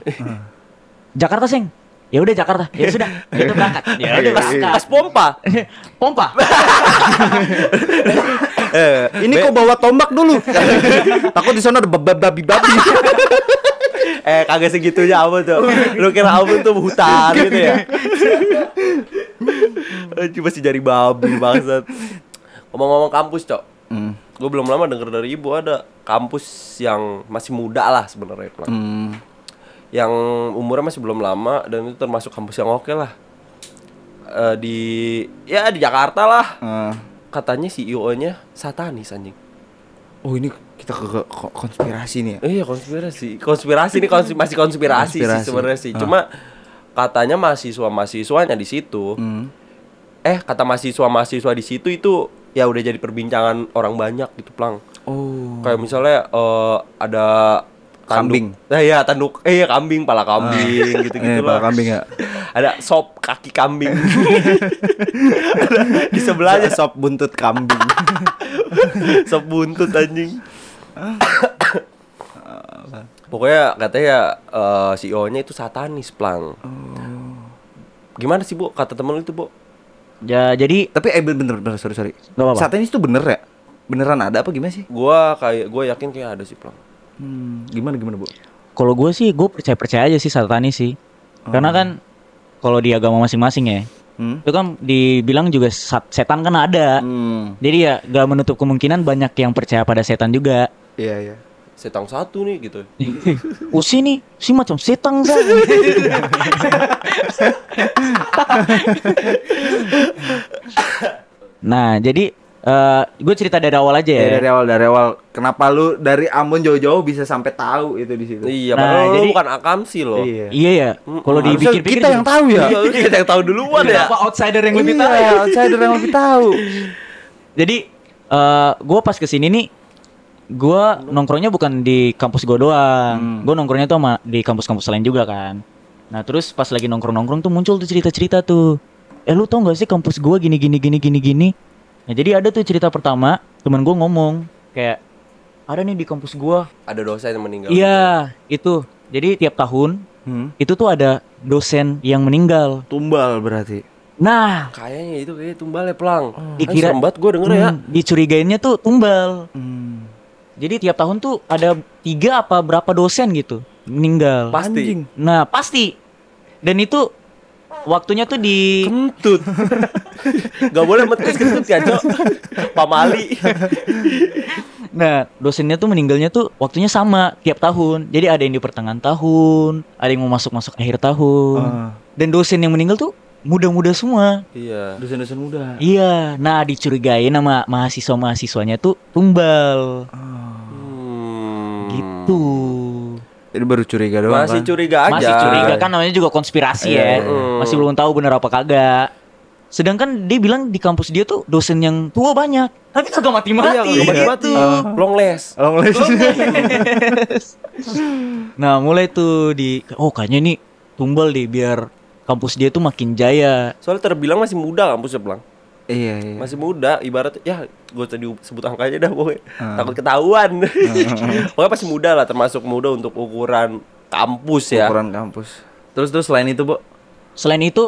C: Jakarta seng. Ya udah Jakarta. Ya sudah. Itu berangkat. Ya udah
A: Pas,
C: berangkat.
A: iya, pas pompa.
C: Pompa.
A: Eh,
B: Ini kok bawa tombak dulu. Takut di sana ada babi-babi.
A: eh kagak segitunya Ambon tuh. Lu kira Ambon tuh hutan gitu ya. Cuma sih jari babi bangsat. Ngomong-ngomong kampus, Cok.
B: Hmm.
A: Gue belum lama denger dari ibu ada kampus yang masih muda lah sebenarnya. Plang.
B: Hmm.
A: yang umurnya masih belum lama dan itu termasuk kampus yang oke lah Eh, di ya di Jakarta lah
B: Ah.
A: katanya CEO-nya satanis anjing
B: Oh ini kita ke, ke- ko- konspirasi nih ya.
A: Eh, iya konspirasi konspirasi ini konsi- masih konspirasi, sih
B: Konspirasi.
A: sebenarnya sih
B: Ah.
A: cuma katanya mahasiswa mahasiswanya di situ
B: Hmm.
A: eh kata mahasiswa mahasiswa di situ itu ya udah jadi perbincangan orang banyak gitu plang
B: Oh.
A: kayak misalnya eh, ada
B: Kambing.
A: tanduk, nah, ya tanduk eh iya, kambing pala kambing gitu gitu
B: Eh, pala kambing ya.
A: ada sop kaki kambing ada di sebelahnya
B: Belanja sop buntut kambing.
A: sop buntut anjing pokoknya katanya CEO nya itu satanis plang gimana sih bu kata temen lu itu bu
C: Ya jadi
B: Tapi eh bener bener sorry sorry.
C: Nggak apa-apa.
B: Saat ini itu bener ya? Beneran ada apa gimana sih?
A: gua kayak gua yakin kayak ada sih plang
B: Hmm, gimana gimana bu?
C: kalau gue sih gue percaya percaya aja sih satanis sih.
B: Oh.
C: Karena kan kalau di agama masing-masing ya
B: Hmm.
C: itu kan dibilang juga sat- setan kan ada.
B: Hmm.
C: Jadi ya gak menutup kemungkinan banyak yang percaya pada setan juga.
B: Iya iya.
A: setang satu nih gitu
C: Iya. Usi nih, si macam setan kan. nah, jadi gue cerita dari awal aja ya.
B: Ya, dari awal dari awal kenapa lu dari Ambon jauh-jauh bisa sampai tahu itu di situ?
A: iya
C: Nah,
A: padahal lu
C: jadi-
A: bukan akamsi loh
B: Iya.
C: Iya ya, kalau
B: Harusnya
C: dipikir-pikir
B: kita yang tahu ya.
A: iya lu kita yang tahu duluan ya
C: Kenapa outsider yang lebih tahu?
B: Iya, outsider yang lebih tahu.
C: Jadi gue pas kesini nih, gue nongkrongnya bukan di kampus gue
A: Hmm.
C: doang. Gue nongkrongnya tuh sama di kampus-kampus lain juga kan. Nah terus pas lagi nongkrong-nongkrong tuh muncul tuh cerita-cerita tuh. Eh lu tau gak sih kampus gue gini gini gini gini gini. Nah jadi ada tuh cerita pertama teman gue ngomong kayak ada nih di kampus gue.
A: ada dosen yang meninggal
C: Iya itu. Jadi tiap tahun
B: Hmm.
C: itu tuh ada dosen yang meninggal.
B: Tumbal berarti.
C: Nah
A: kayaknya itu kayak tumbal ya plang
C: Oh. Dikira-
A: Kan serem banget gua denger ya
C: hmm, dicurigainnya tuh tumbal.
B: Hmm.
C: Jadi tiap tahun tuh ada tiga apa berapa dosen gitu meninggal.
A: pasti
B: Anjing.
C: Nah pasti. Dan itu waktunya tuh di
A: kentut nggak boleh metus kentut ya cok pamali
C: nah dosennya tuh meninggalnya tuh waktunya sama tiap tahun. Jadi ada yang di pertengahan tahun, ada yang mau masuk masuk akhir tahun.
B: Ah.
C: Dan dosen yang meninggal tuh muda-muda semua.
A: iya
B: Dosen-dosen muda.
C: Iya. Nah dicurigain sama mahasiswa mahasiswanya tuh tumbal
A: Hmm.
C: gitu.
B: Jadi baru curiga doang
A: masih
B: kan?
A: curiga aja
C: Masih curiga kan namanya juga konspirasi
B: Iya, iya,
C: ya.
A: iya.
C: Masih belum tahu bener apa kagak. Sedangkan dia bilang di kampus dia tuh dosen yang tua banyak, tapi kagak mati-mati.
A: Iya, nggak
C: gitu.
A: mati-mati. long les
B: Long list.
C: nah, mulai tuh di oh kayaknya ini tumbal deh biar kampus dia tuh makin jaya.
A: soalnya terbilang masih muda kampusnya Blang
B: iya iya.
A: masih muda ibarat ya gue tadi sebut angkanya dah pokoknya
B: Ah.
A: takut ketahuan pokoknya masih muda lah termasuk muda untuk ukuran kampus ya
B: Ukuran kampus. Terus terus selain itu, Bu.
C: Selain itu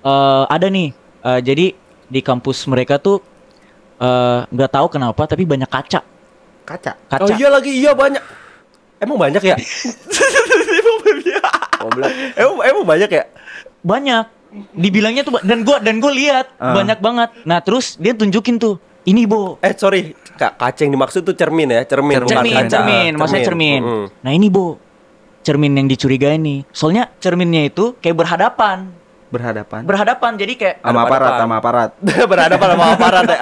C: eh ada nih eh, jadi di kampus mereka tuh eh, nggak tahu kenapa tapi banyak kaca.
B: Kaca.
C: Kaca.
A: oh iya lagi iya banyak emang banyak ya emang banyak emang, emang banyak ya
C: banyak dibilangnya tuh ba- dan gua dan gue lihat
A: Ah.
C: banyak banget nah terus dia tunjukin tuh ini bo
A: eh sorry kak kaceng dimaksud tuh cermin ya cermin bukan
C: cermin
A: kaca.
C: cermin, maksudnya cermin
A: Mm-mm.
C: nah ini bo cermin yang dicurigai nih soalnya cerminnya itu kayak berhadapan
B: Berhadapan.
C: berhadapan jadi kayak
B: sama
A: Berhadapan.
B: aparat, sama aparat.
A: berhadapan sama aparat ya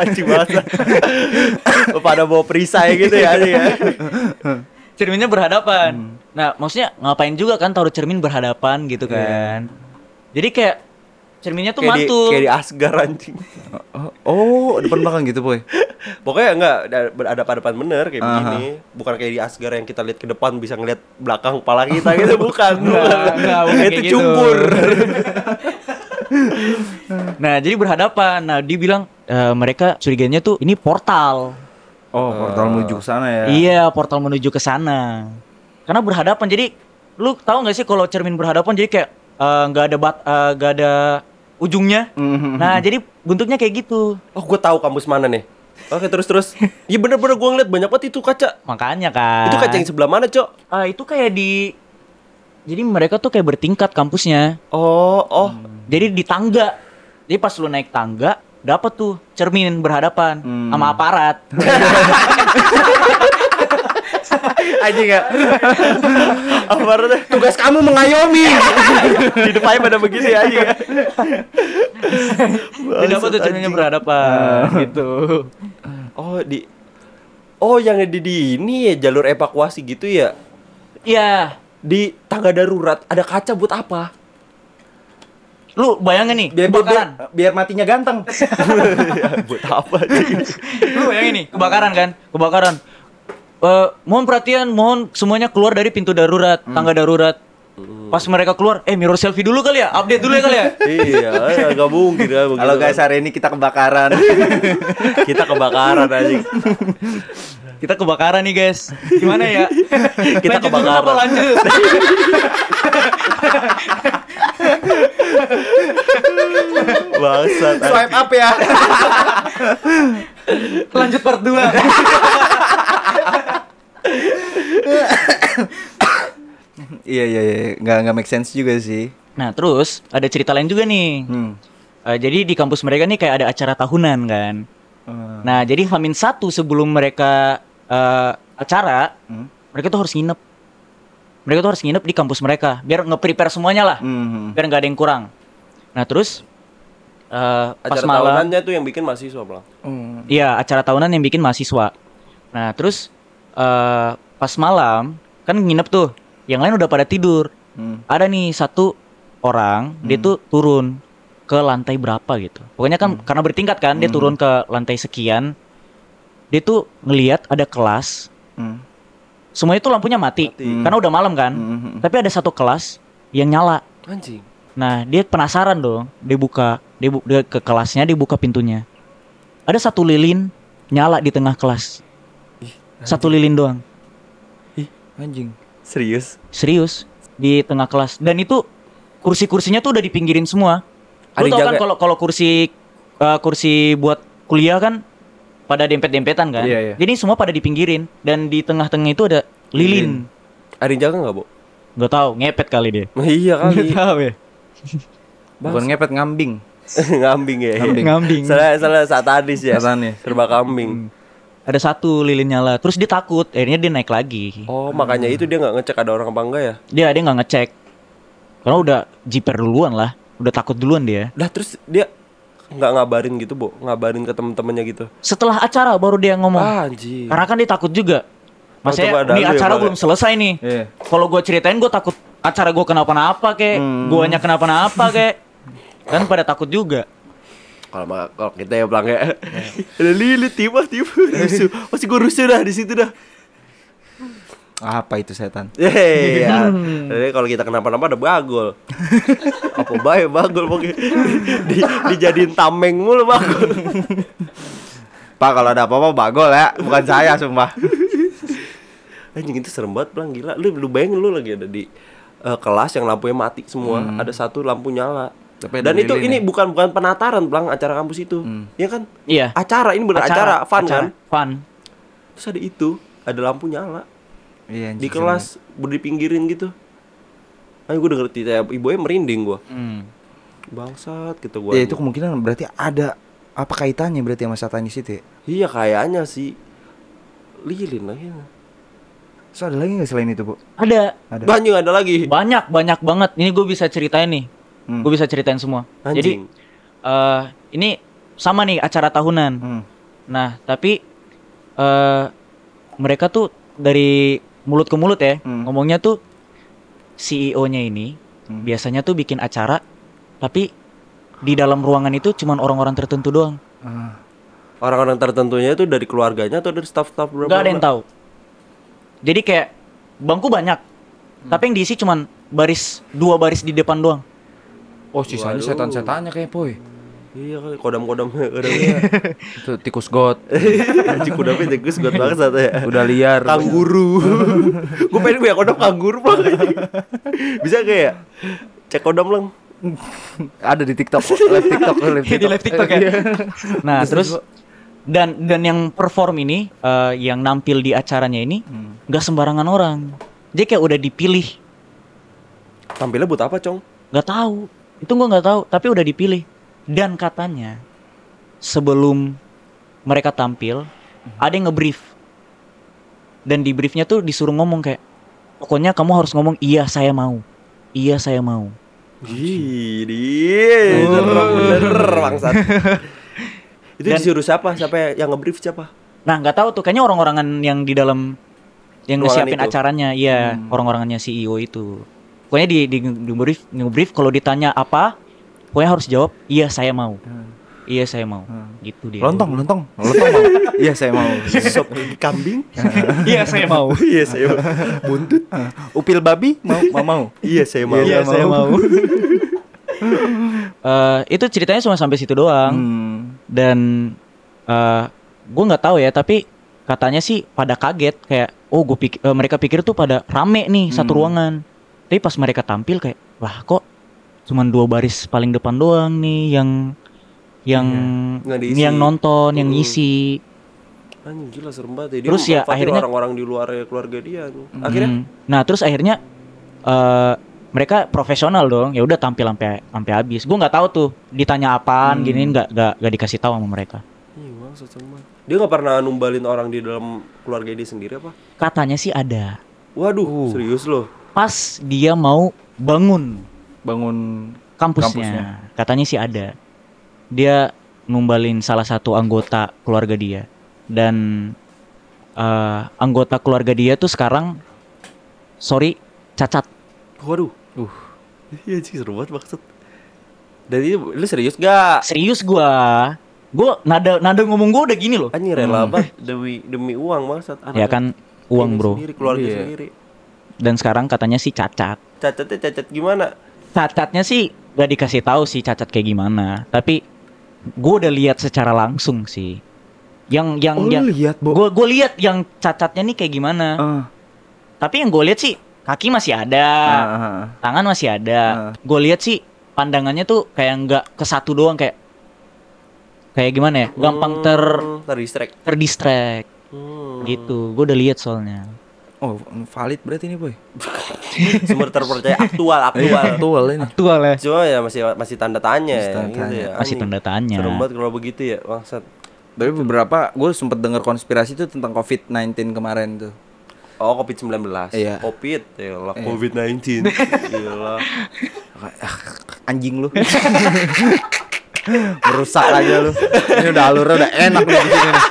A: Anjing banget Pada bawa perisai gitu ya anjing ya
C: cerminnya
A: Hmm.
C: berhadapan nah maksudnya ngapain juga kan taruh cermin berhadapan gitu kan jadi kayak cerminnya tuh
A: Iya. Kayak di,
C: mantul
A: kayak di Asgar anjing
B: Oh, depan belakang gitu, Boy.
A: Pokoknya enggak ada- berhadapan-hadapan bener kayak begini Bukan kayak di Asgar yang kita lihat ke depan bisa ngeliat belakang kepala kita gitu Bukan, bukan.
C: enggak, bukan
A: Itu
C: kayak gitu.
A: cukur
C: nah jadi berhadapan nah dia bilang eh, mereka curiganya tuh ini portal
B: Oh, portal menuju ke sana ya.
C: Iya, portal menuju ke sana. Karena berhadapan. Jadi lu tahu nggak sih kalau cermin berhadapan jadi kayak eh, nggak ada bat eh, nggak ada ujungnya.
A: Mm-hmm.
B: Mhm.
C: Nah, jadi bentuknya kayak gitu.
A: Oh gue tahu kampus mana nih Oke terus-terus Iya bener-bener gue ngeliat banyak banget itu kaca
C: Makanya kan.
A: Itu kaca yang sebelah mana cok?
C: Ah, itu kayak di Jadi mereka tuh kayak bertingkat kampusnya.
A: Oh, oh
C: Jadi di tangga. Jadi pas lu naik tangga dapat tuh cermin berhadapan
A: Hmm.
C: sama aparat.
A: Anjing ya Aparatnya
B: Tugas kamu mengayomi.
A: di depannya pada begini aja ya.
C: Jadi dapat tuh cerminnya berhadapan
A: Ah.
C: gitu.
A: Oh di Oh yang di, di ini ya jalur evakuasi gitu ya.
C: Iya.
A: di tangga darurat ada kaca buat apa?
C: Lu bayangin nih,
B: biar, biar,
C: kebakaran.
B: biar matinya ganteng Iya,
A: Ya, buat apa? anjing?
C: Lu bayangin nih, kebakaran kan? Kebakaran. Eh, mohon perhatian, mohon semuanya keluar dari pintu darurat,
A: Hmm.
C: tangga darurat. Pas mereka keluar, eh mirror selfie dulu kali ya, update dulu ya kali ya.
A: iya, nggak mungkin kan begitu
B: halo guys
A: kan.
B: hari ini kita kebakaran
A: kita kebakaran anjing.
C: Kita kebakaran nih guys. Gimana ya?
A: Kita
C: Lanjut dulu apa
A: kebakaran.
C: lanjut?
A: Bangsat. anjing.
B: swipe up ya
C: Lanjut part 2.
B: iya iya iya nggak nggak make sense juga sih
C: Nah, terus ada cerita lain juga nih.
B: hmm.
C: Eh, jadi di kampus mereka nih kayak ada acara tahunan kan.
B: Eh,
C: Nah, jadi Hamin satu sebelum mereka eh, acara,
B: Hmm.
C: mereka tuh harus nginep. Mereka tuh harus nginep di kampus mereka biar nge-prepare semuanya lah,
B: hmm.
C: biar nggak ada yang kurang. Nah, terus eh, pas
A: Acara
C: malam,
A: tahunannya tuh yang bikin mahasiswa Bang.
B: Hmm.
C: iya acara tahunan yang bikin mahasiswa. Nah, terus eh, pas malam kan nginep tuh, yang lain udah pada tidur.
B: Hmm.
C: Ada nih satu orang, dia tuh turun ke lantai berapa gitu. Pokoknya kan karena bertingkat kan, dia turun ke lantai sekian. Dia tuh ngelihat ada kelas
B: Hmm.
C: semuanya itu lampunya mati,
A: Mati.
C: karena udah malam kan.
B: Hmm.
C: Tapi ada satu kelas yang nyala.
A: Anjing.
C: Nah, dia penasaran dong. Dia buka, dia, bu- dia ke kelasnya, dia buka pintunya. Ada satu lilin nyala di tengah kelas. Satu lilin doang.
B: anjing
A: Serius?
C: Serius di tengah kelas. Dan itu kursi-kursinya tuh udah dipinggirin semua.
A: Ada
C: Lu
A: yang
C: tau kan
A: jaga.
C: kalau kalau kursi eh, kursi buat kuliah kan pada dempet-dempetan kan.
B: Iya, iya.
C: Jadi semua pada dipinggirin dan di tengah-tengah itu ada lilin.
A: Ada yang jaga nggak, Bu?
C: Gak tahu, ngepet kali dia.
A: Nah, iya kali.
C: tahu ya.
B: bukan ngepet ngambing
A: Ngambing ya. iya.
B: Ngambing.
C: Ngambing.
A: Salah salah saat tadi ya.
B: Satanis.
A: Serba
B: Hmm.
A: kambing.
C: Ada satu lilin nyala, terus dia takut, akhirnya dia naik lagi.
A: Oh, makanya
B: Hmm.
A: itu dia nggak ngecek ada orang apa enggak ya?
C: Dia ada nggak ngecek, karena udah jiper duluan lah, udah takut duluan dia.
A: Lah terus dia nggak ngabarin gitu, Bu. Ngabarin ke temen-temennya gitu.
C: Setelah acara baru dia ngomong,
A: Ah, anjing.
C: karena kan dia takut juga.
A: coba
C: Maksudnya
A: ada
C: ini
A: lu ya,
C: acara
A: Bang, ya?
C: belum selesai nih.
B: Iya.
C: Kalau gue ceritain gue takut acara gue kenapa-napa kek,
A: Hmm.
C: guanya kenapa-napa kek, kan pada takut juga.
A: Kalau ma- kalau kita ya pelang ya. Ada lilit tiba tiba rusuh. Pasti gue rusuh dah di situ dah.
B: apa itu setan
A: Yeay, ya. Jadi kalau kita kenapa-napa ada bagol. Apa bae bagol pokoknya. Di, dijadiin tameng mulu bagol.
B: pak kalau ada apa-apa bagol ya bukan saya sumpah
A: Anjing itu serem banget pelang gila. Lu lu bayangin lu lagi ada di eh, kelas yang lampunya mati semua, ada satu lampu nyala.
B: Tapi ada Hmm.
A: Dan itu
B: lilin
A: ini bukan bukan penataran pelang acara kampus itu. Ya kan?
C: Iya.
A: Acara ini bener acara, fun
C: acara,
A: kan?
C: Fun.
A: Terus ada itu, ada lampu nyala.
B: iya,
A: di
B: anjing,
A: kelas di pinggirin gitu Ayo gue denger cerita ibunya merinding gue
B: Hmm.
A: Bangsat gitu
B: serem.
A: gue
B: ya itu kemungkinan berarti ada apa kaitannya berarti sama satanis itu ya?
A: Iya kayaknya sih Lilin lagi
B: So ada lagi nggak selain itu bu?
C: Ada
B: Ada.
A: Banyak ada lagi
C: banyak banyak banget. Ini gue bisa ceritain nih.
B: Hmm.
C: Gue bisa ceritain semua. Jadi
A: Anjing
C: eh ini sama nih acara tahunan.
B: Hmm.
C: Nah, tapi eh mereka tuh dari mulut ke mulut ya,
B: Hmm.
C: ngomongnya tuh CEO-nya ini biasanya tuh bikin acara tapi di dalam ruangan itu cuman orang-orang tertentu doang.
B: Ah.
A: Orang-orang tertentunya itu dari keluarganya atau dari staff-staff berapa?
C: Gak ada yang tahu. Jadi kayak bangku banyak, tapi yang diisi cuman baris dua baris di depan doang.
B: Oh sisanya
A: Waduh.
B: setan-setannya kayak boy
A: Iya kali kodam-kodam Kodam. iya.
B: Itu tikus god
A: Anjing kodamnya tegus gue banget satu ya
B: Udah liar
A: Kangguru Gue pengen punya kodam kangguru banget Bisa kayak ya? Cek kodam lang
B: Ada di tiktok kok. Live tiktok Iya. Live
C: di live TikTok ya. Nah, terus dan dan yang perform ini eh, yang nampil di acaranya ini nggak sembarangan orang. Jadi kayak udah dipilih,
A: Tampilnya buat apa cong?
C: nggak tahu. Itu gua nggak tahu, tapi udah dipilih. Dan katanya sebelum mereka tampil ada yang ngebrief. Dan di briefnya tuh disuruh ngomong kayak pokoknya kamu harus ngomong iya saya mau. Iya saya mau.
A: Gini, bener bener bangsat. Itu
C: Dan-
A: disuruh siapa? Siapa yang ngebrief siapa?
C: Nah, nggak tahu tuh kayaknya orang-orangan yang di dalam yang
A: Ruangan
C: ngesiapin
A: itu.
C: acaranya iya orang-orangannya CEO itu pokoknya di di, di brief nge-brief kalau ditanya apa pokoknya harus jawab iya saya mau iya saya mau gitu dia
B: Lontong, lontong, lontong. Bang. Iya saya mau.
A: Sop gigi kambing.
C: iya saya mau
A: Iya saya mau. Buntut.
B: Ah. Upil babi mau mau mau.
A: Iya saya mau.
B: Iya, saya mau.
C: Eh, itu ceritanya cuma sampai situ doang
B: Hmm.
C: dan eh gue nggak tahu ya tapi katanya sih pada kaget kayak oh gue pik- eh, mereka pikir tuh pada rame nih satu
B: Hmm.
C: ruangan tapi pas mereka tampil kayak wah kok cuman dua baris paling depan doang nih yang yang
A: Iya. Nggak diisi.
C: yang nonton yang
A: Mm.
C: ngisi
A: Anjing gila serem banget ya. Dia
C: Terus ya,
A: memanfaatin
C: akhirnya-
A: orang-orang di luar keluarga dia tuh. Akhirnya
C: Hmm. nah terus akhirnya eh mereka profesional dong ya udah tampil sampai sampai habis gue nggak tahu tuh ditanya
A: Hmm.
C: apaan gini nggak nggak nggak dikasih tahu sama mereka
A: Ih, bangsat Iya, serem banget. Dia nggak pernah numbalin orang di dalam keluarga dia sendiri apa?
C: katanya sih ada
A: Waduh,
C: Uh.
A: serius loh.
C: pas dia mau bangun
B: Bangun
C: kampusnya,
B: Kampusnya.
C: katanya sih ada dia ngumbalin salah satu anggota keluarga dia dan eh, anggota keluarga dia tuh sekarang sorry cacat
A: Waduh. Uh. Iya sih seru banget maksud. Dan ini lu serius gak?
C: serius gua gua nada nada ngomong gua udah gini loh
A: Anjing rela banget demi demi uang maksud.
C: Hmm. ya kan uang
A: Ini
C: bro
A: Sendiri, keluarga
B: Iya.
A: sendiri.
C: dan sekarang katanya sih cacat
A: Cacatnya cacat gimana?
C: cacatnya sih gak dikasih tahu sih cacat kayak gimana tapi gue udah lihat secara langsung sih yang yang
B: Oh, lu
C: yang
B: lihat, Bo?
C: gue gue lihat yang cacatnya nih kayak gimana
B: Ah,
C: tapi yang gue lihat sih kaki masih ada
B: ah, ah, ah.
C: tangan masih ada gue lihat sih pandangannya tuh kayak nggak ke satu doang kayak kayak gimana ya gampang ter
A: Hmm, terdistract.
C: terdistract
A: Hmm.
C: gitu gue udah lihat soalnya
B: Oh, valid berarti ini, Boy.
A: Sumber terpercaya aktual, aktual.
B: Aktual ini.
C: Aktual
A: Cuma ya masih masih tanda tanya ya,
B: Masih tanda
A: gitu
B: tanya.
A: ya.
C: masih
A: Anjing.
C: tanda tanya
A: Serem banget kalau begitu ya, bangsat.
B: Tapi beberapa gue sempet dengar konspirasi tuh tentang COVID-19 kemarin tuh.
A: Oh, Covid-19.
B: Iya.
A: Covid, ya Covid-19. Gila.
B: Ah, Anjing lu. Merusak aja lu. Ini udah alurnya udah enak nih di sini. nih.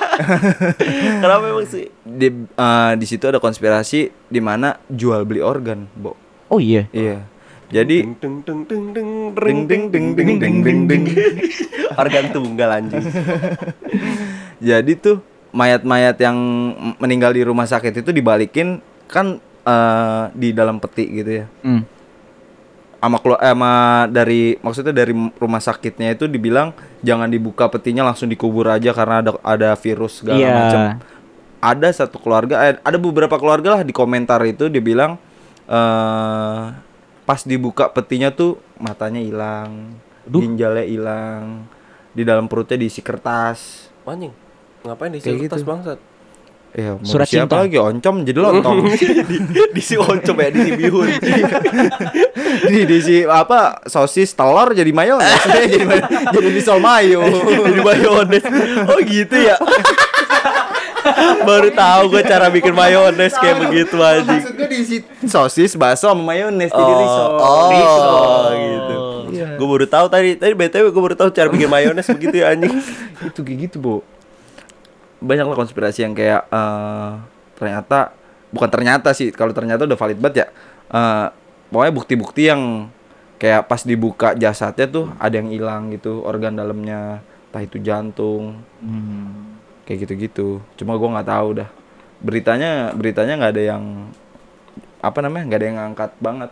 A: Kenapa emang sih?
B: Di eh, di situ ada konspirasi di mana jual beli organ, Bo.
C: oh iya
B: Iya. Jadi
A: Ding ding ding ding ding
B: ding
A: ding
B: ding ding ding ding ding ding.
A: Organ tunggal anjing.
B: Jadi tuh mayat-mayat yang meninggal di rumah sakit itu dibalikin kan eh, di dalam peti gitu ya.
C: Hmm.
B: sama kelu- eh, sama dari maksudnya dari m- rumah sakitnya itu dibilang jangan dibuka petinya langsung dikubur aja karena ada ada virus segala
C: Iya.
B: macam. Ada satu keluarga eh, ada beberapa keluarga lah di komentar itu dibilang eh pas dibuka petinya tuh matanya hilang,
C: Duh.
B: ginjalnya hilang, di dalam perutnya diisi kertas.
A: Anjing. Ngapain di
B: Kayak
A: kertas
B: gitu.
A: bangsat?
B: Ya, mau
C: Surat
B: siapa
C: cinta.
B: lagi oncom jadi lontong.
A: Di si oncom ya, di si bihun.
B: di diisi apa sosis telur jadi mayones jadi jadi misal mayo
A: Jadi mayones. Oh gitu ya. Baru tahu gue cara bikin mayones kayak begitu anjing.
B: Maksud gue diisi sosis, bakso sama mayones jadi risol.
A: Oh,
B: Risol.
A: oh, gitu. Gue baru tahu tadi, tadi btw gue baru tahu cara bikin mayones begitu ya anjing.
B: Itu kayak gitu, Bu. Banyak lah konspirasi yang kayak eh, ternyata bukan ternyata sih, kalau ternyata udah valid banget ya. Eh, pokoknya bukti-bukti yang kayak pas dibuka jasadnya tuh ada yang hilang gitu, organ dalamnya, entah itu jantung, Hmm. kayak gitu-gitu. Cuma gua nggak tahu dah. Beritanya beritanya nggak ada yang apa namanya nggak ada yang ngangkat banget.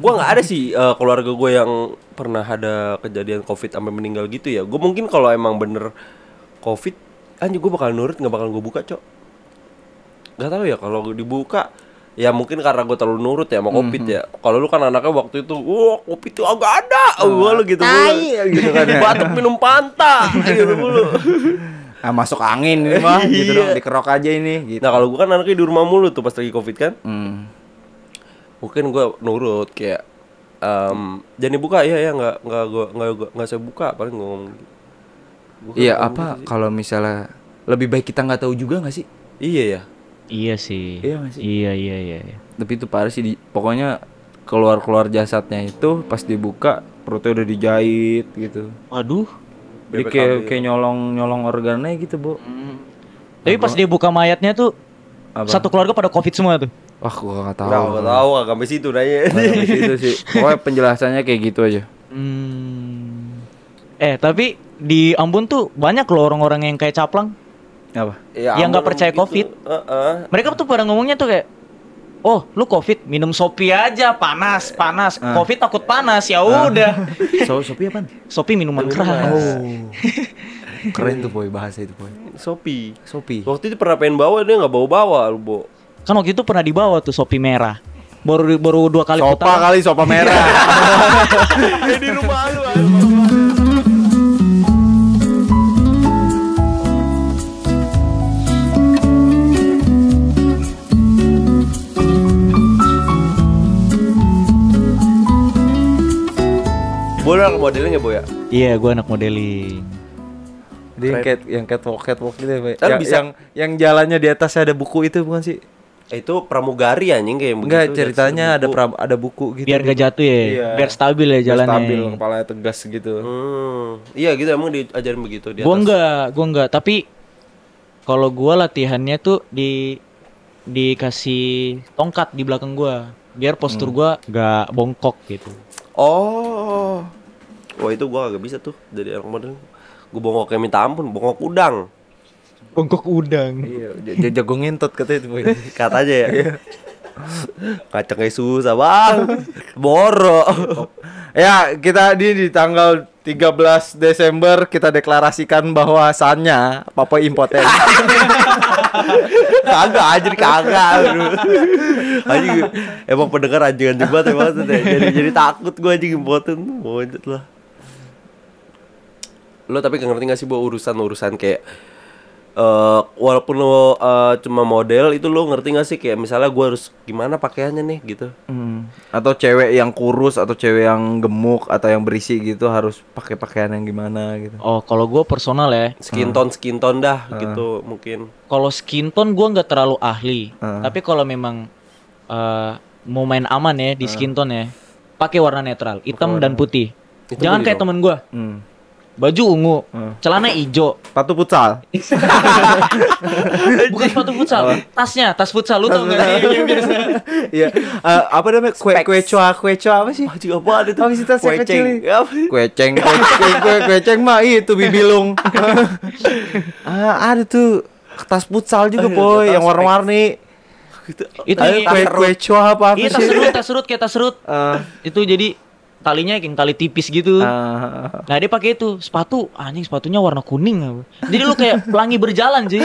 A: Gue nggak ada sih eh, keluarga gue yang pernah ada kejadian covid sampai meninggal gitu ya. Gue mungkin kalau emang bener covid, anjing gue bakal nurut nggak bakal gue buka cok. Gak tahu ya kalau dibuka ya mungkin karena gue terlalu nurut ya
B: Mhm.
A: sama covid ya. Kalau lu kan anaknya waktu itu, wah covid tuh agak ada, wah lu gitu mulu.
B: Ah. gitu kan ya.
A: Batuk minum panta, gitu mulu.
B: Ah, masuk angin ini mah
A: Iya.
B: gitu dong dikerok aja ini gitu.
A: Nah kalau gue kan anaknya di rumah mulu tuh pas lagi covid kan
B: Hmm.
A: Mungkin gue nurut kayak em Jangan dibuka ya ya nggak nggak gue nggak gua- nggak saya buka paling gue ngomong gitu. Gua kan
B: Iya
A: ngomong
B: apa
A: gitu sih.
B: kalau misalnya lebih baik kita nggak tahu juga nggak sih?
A: Iya ya
C: iya sih
B: Iya nggak sih?
C: iya iya iya, iya.
B: Tapi itu parah sih. di- pokoknya keluar keluar jasadnya itu pas dibuka perutnya udah dijahit gitu.
C: waduh
B: Jadi kayak, kayak nyolong nyolong organnya gitu bu.
C: Tapi pas dia buka mayatnya tuh
B: Apa?
C: Satu keluarga pada covid semua tuh.
B: Wah, gua gak tahu.
A: Nggak nggak tahu nggak sampai situ nanya.
B: itu sih. Pokoknya penjelasannya kayak gitu aja.
C: Hmm. Eh tapi di Ambon tuh banyak loh orang-orang yang kayak caplang.
B: Apa?
A: Ya,
C: Yang nggak
A: ampun,
C: percaya
A: gitu.
C: Covid.
A: Heeh.
C: Mereka tuh pada ngomongnya tuh kayak Oh, lu covid minum sopi aja panas panas.
B: Ah.
C: Covid takut panas ya udah.
B: So, Sopi apaan?
C: Sopi minuman keras.
B: Oh. Keren tuh boy bahasa itu boy.
A: Sopi.
B: Sopi.
A: Waktu itu pernah pengen bawa dia nggak bawa bawa lu bo.
C: Kan waktu itu pernah dibawa tuh sopi merah. Baru baru dua kali
B: Sopa kan?
C: putaran.
B: kali sopa merah.
A: di rumah lu. Boleh anak modelnya nggak Bo ya?
C: Iya, gua anak modeling.
B: Dia yang cat yang catwalk catwalk gitu ya, Boy.
A: Kan
B: yang,
A: bisa-
B: yang yang jalannya di atasnya ada buku itu bukan sih?
A: Eh, Itu pramugari anjing kayak begitu.
B: Enggak,
A: dari
B: ceritanya ada
A: buku.
B: pra- ada buku gitu.
C: Biar gak jatuh ya,
B: Iya.
C: biar stabil ya
B: Biar
C: jalannya.
B: Stabil, kepalanya tegas gitu.
A: Hmm. Iya gitu emang diajarin begitu dia.
C: Gua enggak, gua enggak, tapi kalau gua latihannya tuh di dikasih tongkat di belakang gua biar postur gua gak Hmm. bongkok gitu.
A: Oh. Wah itu gua kagak bisa tuh jadi anak model. Gua bongkok kayak minta ampun, bongkok udang.
C: Bongkok udang.
B: Iya, j- jago ngintot katanya itu boy.
A: Katanya ya. Kacang kayak susah bang Boro
B: ya, kita di di tanggal 13 Desember kita deklarasikan bahwasannya Papa impoten.
A: Kagak anjir kagak bro. Anjing Emang pendengar anjing anjing banget emang maksudnya. Jadi, jadi takut gua anjing impoten Monyet lah Lo tapi gak ngerti gak sih bu urusan-urusan kayak eh walaupun lo eh, cuma model itu lo ngerti gak sih kayak misalnya gua harus gimana pakaiannya nih gitu
B: Hmm. atau cewek yang kurus atau cewek yang gemuk atau yang berisi gitu harus pakai pakaian yang gimana gitu.
C: Oh, kalau gua personal ya,
A: skin tone skin tone dah gitu mungkin
C: kalau skin tone gua nggak terlalu ahli.
B: Ah.
C: Tapi kalau memang eh, mau main aman ya di skin tone ya, pakai warna netral, hitam dan putih.
A: Itu
C: Jangan
A: boleh
C: kayak
A: dong.
C: temen gua.
B: Hmm.
C: Baju ungu,
B: Ah.
C: celana hijau,
B: Patu futsal.
C: Bukan sepatu futsal, tasnya, tas futsal lu tau gak sih? Yang biasa.
B: Iya. Eh, apa namanya? Kue kue coa kue coa
C: Oh,
B: apa sih?
A: Anjing apaan itu?
B: Apa sih tas yang kecil
A: Kueceng.
B: ini?
A: Apa?
B: Kueceng, kueceng, kue, kueceng mah itu bibilung. ah, ada tuh tas futsal juga,
A: Ada
B: boy,
A: tas
B: yang warna-warni.
A: Gitu.
C: Itu
B: Ada
C: iya.
B: kue kue coa apa apa
C: Iya tas
B: sih?
C: serut, tas serut kayak tas serut.
B: Eh,
C: Itu jadi talinya kayak tali tipis gitu.
B: eh,
C: Nah dia pakai itu sepatu, anjing sepatunya warna kuning apa. Jadi lu kayak pelangi berjalan sih.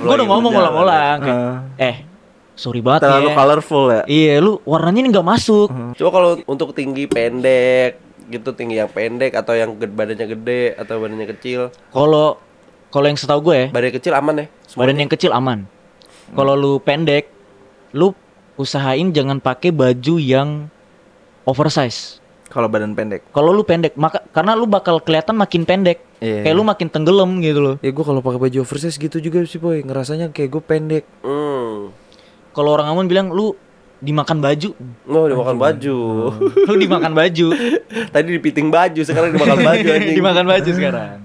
C: Gue udah ngomong
A: berjalan.
C: ulang-ulang. kayak,
B: Ah.
C: Eh, sorry banget
B: terlalu Hmm.
C: ya.
B: colorful ya.
C: Iya, lu warnanya ini nggak masuk.
A: Coba kalau untuk tinggi pendek gitu tinggi yang pendek atau yang ged- badannya gede atau badannya kecil.
C: Kalau kalau yang setahu gue ya,
A: Badannya kecil aman ya?
C: badan yang kecil aman.
B: Hmm.
C: Kalau lu pendek, lu usahain jangan pakai baju yang oversize.
B: Kalau badan pendek.
C: Kalau lu pendek, maka karena lu bakal kelihatan makin pendek.
B: Iya.
C: Kayak lu makin tenggelam gitu loh.
B: Ya gue kalau pakai baju oversize gitu juga sih, boy. Ngerasanya kayak gue pendek.
A: Hmm.
C: Kalau orang Ambon bilang lu dimakan baju,
A: Oh, dimakan baju.
C: lu dimakan baju,
A: Tadi dipiting baju, sekarang dimakan baju anjing.
C: dimakan baju sekarang.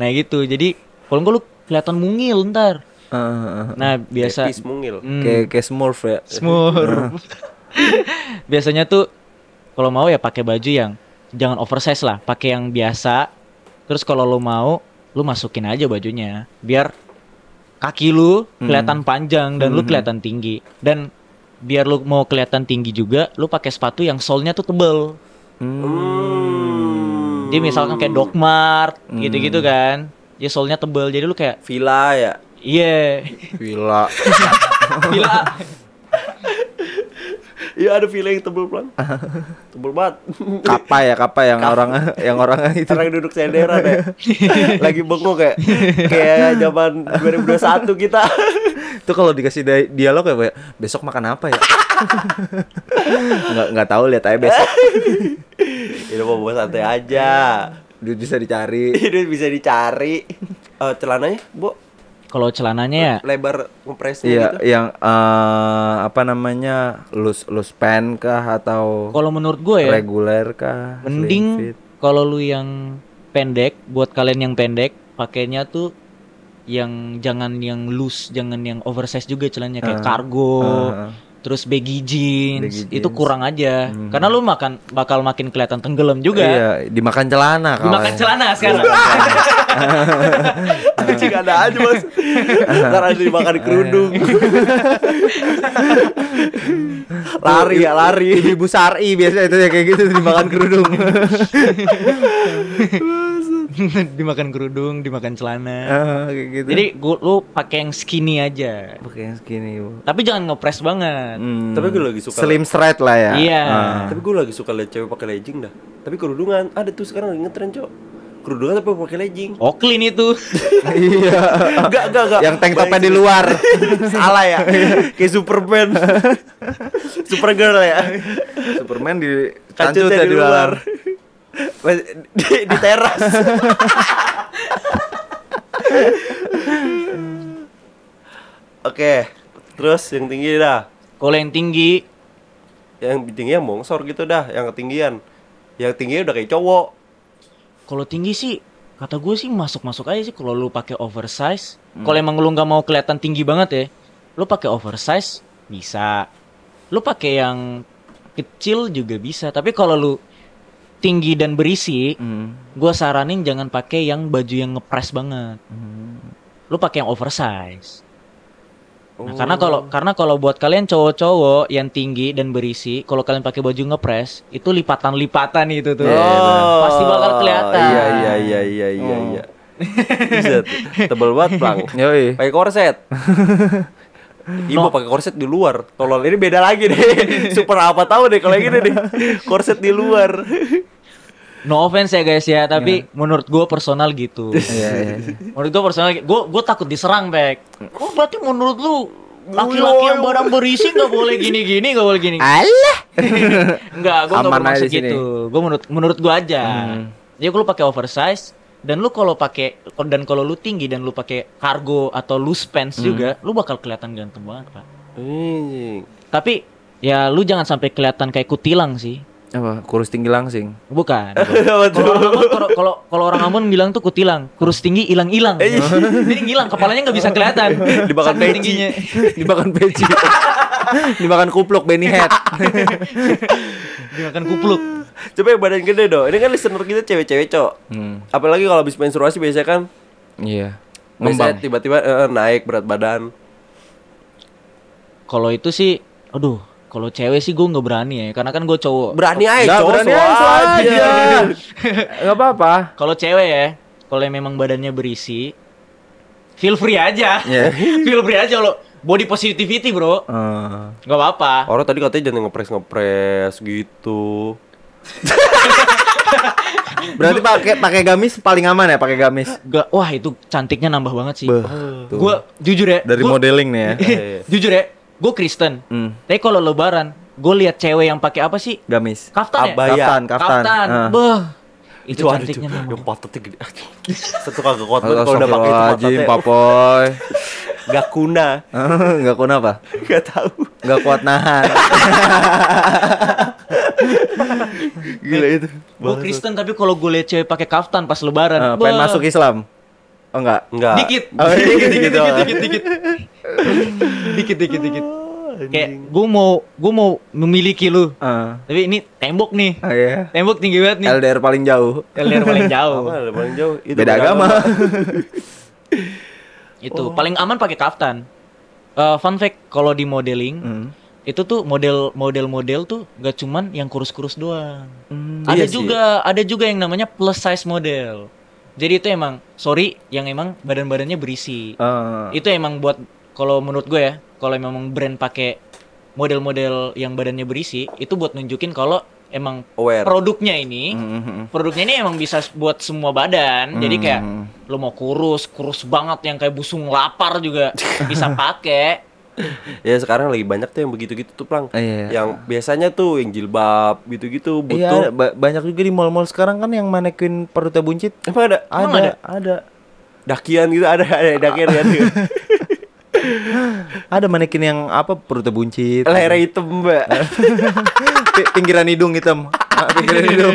C: Nah gitu, jadi kalau enggak lu kelihatan mungil ntar.
B: Eh, eh, eh.
C: Nah biasa,
A: Tipis, mungil.
C: Hmm,
B: Kayak kayak smurf ya.
C: smur. Biasanya tuh kalau mau ya pakai baju yang jangan oversize lah, pakai yang biasa. Terus kalau lu mau, lu masukin aja bajunya biar kaki lu kelihatan panjang dan lu kelihatan tinggi. Dan biar lu mau kelihatan tinggi juga, lu pakai sepatu yang solnya tuh tebel.
A: Hmm.
C: Jadi misalkan kayak Doc Mart gitu-gitu kan. Ya solnya tebel. Jadi lu kayak,
A: Villa ya.
C: iya.
B: Gila.
C: Gila.
A: Iya ada villa yang tebel pelan. tebel banget.
B: Kapa ya, kapa yang orang yang orang gitu. itu.
A: Orang duduk senderan ya. Lagi bengong kayak kayak zaman 2021 kita.
B: Itu kalau dikasih dia- dialog ya, Pak, besok makan apa ya? nggak nggak tahu lihat aja besok.
A: Ya udah bawa santai aja.
B: Duit bisa
C: Iya.
B: dicari.
A: Ini bisa dicari. Eh, celananya, Bu,
C: Kalau celananya ya,
A: lebar ngepresnya
B: Iya,
A: gitu.
B: yang eh, apa namanya? Loose loose pen kah atau
C: kalau menurut gue
B: iya.
C: ya,
B: reguler kah? Slim fit?
C: mending kalau lu yang pendek, buat kalian yang pendek, pakainya tuh yang jangan yang loose, jangan yang oversize juga celananya
B: Ah.
C: kayak kargo,
B: Ah.
C: terus baggy jeans,
B: Baggy
C: itu
B: jeans.
C: kurang aja.
B: Mhm.
C: Karena lu makan bakal makin kelihatan tenggelam juga.
B: Iya, dimakan celana kalau.
C: Dimakan celana sekarang.
A: Anjing ada aja mas Ntar ada dimakan kerudung Lari ya lari
B: Ibu sari biasanya itu ya kayak gitu dimakan kerudung.
C: dimakan kerudung, dimakan celana.
B: Ah, kayak gitu.
C: Jadi gua lu pakai yang skinny aja.
B: pakai yang segini, Bu.
C: Tapi jangan ngepres banget.
B: Hmm.
A: Tapi gue lagi suka-
B: slim straight lah ya.
C: Iya.
B: Ah.
A: Tapi gue lagi suka liat cewek pakai legging dah Tapi kerudungan Ada tuh sekarang lagi ngetren cok Kerudungan tapi pakai legging
C: Oklin itu.
B: Iya.
A: Enggak enggak enggak
B: yang tank topnya di luar.
A: Salah ya Kayak Superman Supergirl ya
B: Superman di
A: Kacutnya ya di luar di, di teras Oke Terus yang tinggi dah
C: Kalau yang tinggi
A: yang tingginya mongsor gitu dah yang ketinggian yang tingginya udah kayak cowok
C: Kalau tinggi sih, kata gue sih masuk-masuk aja sih kalau lu pakai oversize.
A: Hmm.
C: Kalau emang lu nggak mau kelihatan tinggi banget ya, lu pakai oversize bisa. Lu pakai yang kecil juga bisa. Tapi kalau lu tinggi dan berisi,
B: Hmm,
C: gue saranin jangan pakai yang baju yang ngepres banget.
B: hmm.
C: Lu pakai yang oversize. Nah, karena
A: Oh.
C: kalau karena kalau buat kalian cowok-cowok yang tinggi dan berisi, kalau kalian pakai baju ngepres, itu lipatan-lipatan itu tuh.
B: Iya, iya, benar.
C: Pasti bakal kelihatan.
A: Oh. iya iya iya iya iya
B: Oh.
A: iya Buset, tebel banget plang
B: Yoi.
A: pakai korset Ibu pakai korset di luar. Tolol ini beda lagi deh. Super apa tahu deh kalau yang ini deh. Korset di luar.
C: No offense ya guys ya, tapi menurut gue personal gitu.
B: Iya, iya.
C: menurut gue personal, gue gue takut diserang back. Oh berarti menurut lu laki-laki yang badan berisi nggak boleh gini-gini, nggak boleh gini.
B: Allah.
C: Enggak, gue
B: Ah, Aman
C: nggak
B: aja di
C: bermaksud
B: sini. Hmm.
C: gitu. Gue menurut menurut gue aja. Jadi kalau lu pakai oversize dan lu kalau pakai dan kalau lu tinggi dan lu pakai cargo atau loose pants
B: Hmm.
C: juga, lu bakal kelihatan ganteng banget pak.
A: Anjing.
C: Tapi ya lu jangan sampai kelihatan kayak kutilang sih.
B: Apa? Kurus tinggi langsing.
C: Bukan.
A: Apa
B: Oh,
A: tuh?
C: Kalau orang Ambon- kalau- kalau kalau orang Ambon bilang tuh kutilang, kurus tinggi hilang hilang. Jadi hilang kepalanya nggak bisa kelihatan.
A: Dimakan
C: Saking
A: peci.
C: tingginya.
B: dimakan peci. dimakan kupluk Benny Head.
C: Dimakan kupluk.
A: Coba yang badan gede dong. Ini kan listener kita cewek-cewek, Cok.
B: Hmm.
A: Apalagi kalau habis menstruasi biasanya kan
B: Iya.
A: biasanya
B: Ngembang.
A: tiba-tiba eh, naik berat badan.
C: Kalau itu sih, aduh, kalau cewek sih gue nggak berani ya, karena kan gue cowok.
A: Berani aja,
B: Nggak,
A: cowok
B: Nah, berani
A: soal
B: aja,
A: aja.
B: Enggak apa-apa.
C: Kalau cewek ya, kalau yang memang badannya berisi, feel free aja.
B: Iya.
C: feel free aja lo. Body positivity bro,
B: Eh.
C: nggak apa-apa.
A: Orang tadi katanya jangan ngepres ngepres gitu.
B: Berarti pakai pakai gamis paling aman ya pakai gamis.
C: Nggak- wah itu cantiknya nambah banget sih.
B: Beuh, tuh.
C: Gue jujur ya.
B: Dari
C: gua-
B: modeling nih ya.
C: jujur ya, gue Kristen.
B: Hmm.
C: Tapi kalau Lebaran, gue lihat cewek yang pakai apa sih?
B: Gamis.
C: Kaftan
A: Abaya.
C: ya?
B: Kaftan, kaftan.
C: Kaftan.
B: Ah.
C: Beuh. Itu
A: Cuma ada,
C: cantiknya
A: Cok,
C: memang.
A: Yang patutnya gede. Satu kagak kuat banget kalau udah pakai itu
B: Astagfirullahaladzim,
A: patutnya.
B: papoy.
A: Gak kuna.
B: Enggak kuat apa?
A: Gak tahu.
B: Enggak kuat nahan.
A: Gila itu.
C: Gue Kristen tapi kalau gue lihat cewek pakai kaftan
B: Eh,
C: pas lebaran,
B: pengen
C: beuh.
B: masuk Islam. Oh enggak.
A: Enggak.
C: Dikit.
B: Oh,
C: dikit,
B: dikit, dikit
C: dikit, dikit,
B: doang.
C: dikit, dikit, dikit, dikit, dikit.
B: Oh,
C: Kayak gue mau, gue mau memiliki lu.
B: Eh,
C: Tapi ini tembok nih,
B: oh iya.
C: tembok tinggi banget nih.
B: LDR paling jauh.
C: LDR paling jauh.
A: Apa ada paling jauh? Itu
B: Beda agama. Oh.
C: Itu paling aman pakai kaftan. Eh, fun fact, kalau di modeling,
B: Hmm.
C: itu tuh model model model tuh gak cuman yang kurus-kurus doang. ada
A: Iya sih.
C: juga ada juga yang namanya plus size model. Jadi itu emang sorry yang emang badan-badannya berisi.
A: Ah.
B: Eh,
C: Itu emang buat kalau menurut gue ya, kalau memang brand pakai model-model yang badannya berisi itu buat nunjukin kalau emang
A: Aware. Mm-hmm.
C: produknya ini
B: hmm, hmm.
C: produknya ini emang bisa buat semua badan. Jadi kayak
B: Hmm.
C: lu mau kurus, kurus banget yang kayak busung lapar juga bisa pakai.
A: Ya sekarang lagi banyak tuh yang begitu-gitu tuh plang.
B: Iya.
A: Yang biasanya tuh yang jilbab gitu-gitu
B: Iya,
A: butuh.
B: ba- banyak juga di mall-mall sekarang kan yang manekin perutnya buncit.
A: Emang ada
C: Emang ada?
B: Ada, ada.
A: dakian gitu ada ada dakian ya.
B: Ada manekin yang apa perutnya buncit.
A: Leher hitam, Mbak.
B: Pi- pinggiran hidung hitam. Ah, pinggiran hidung.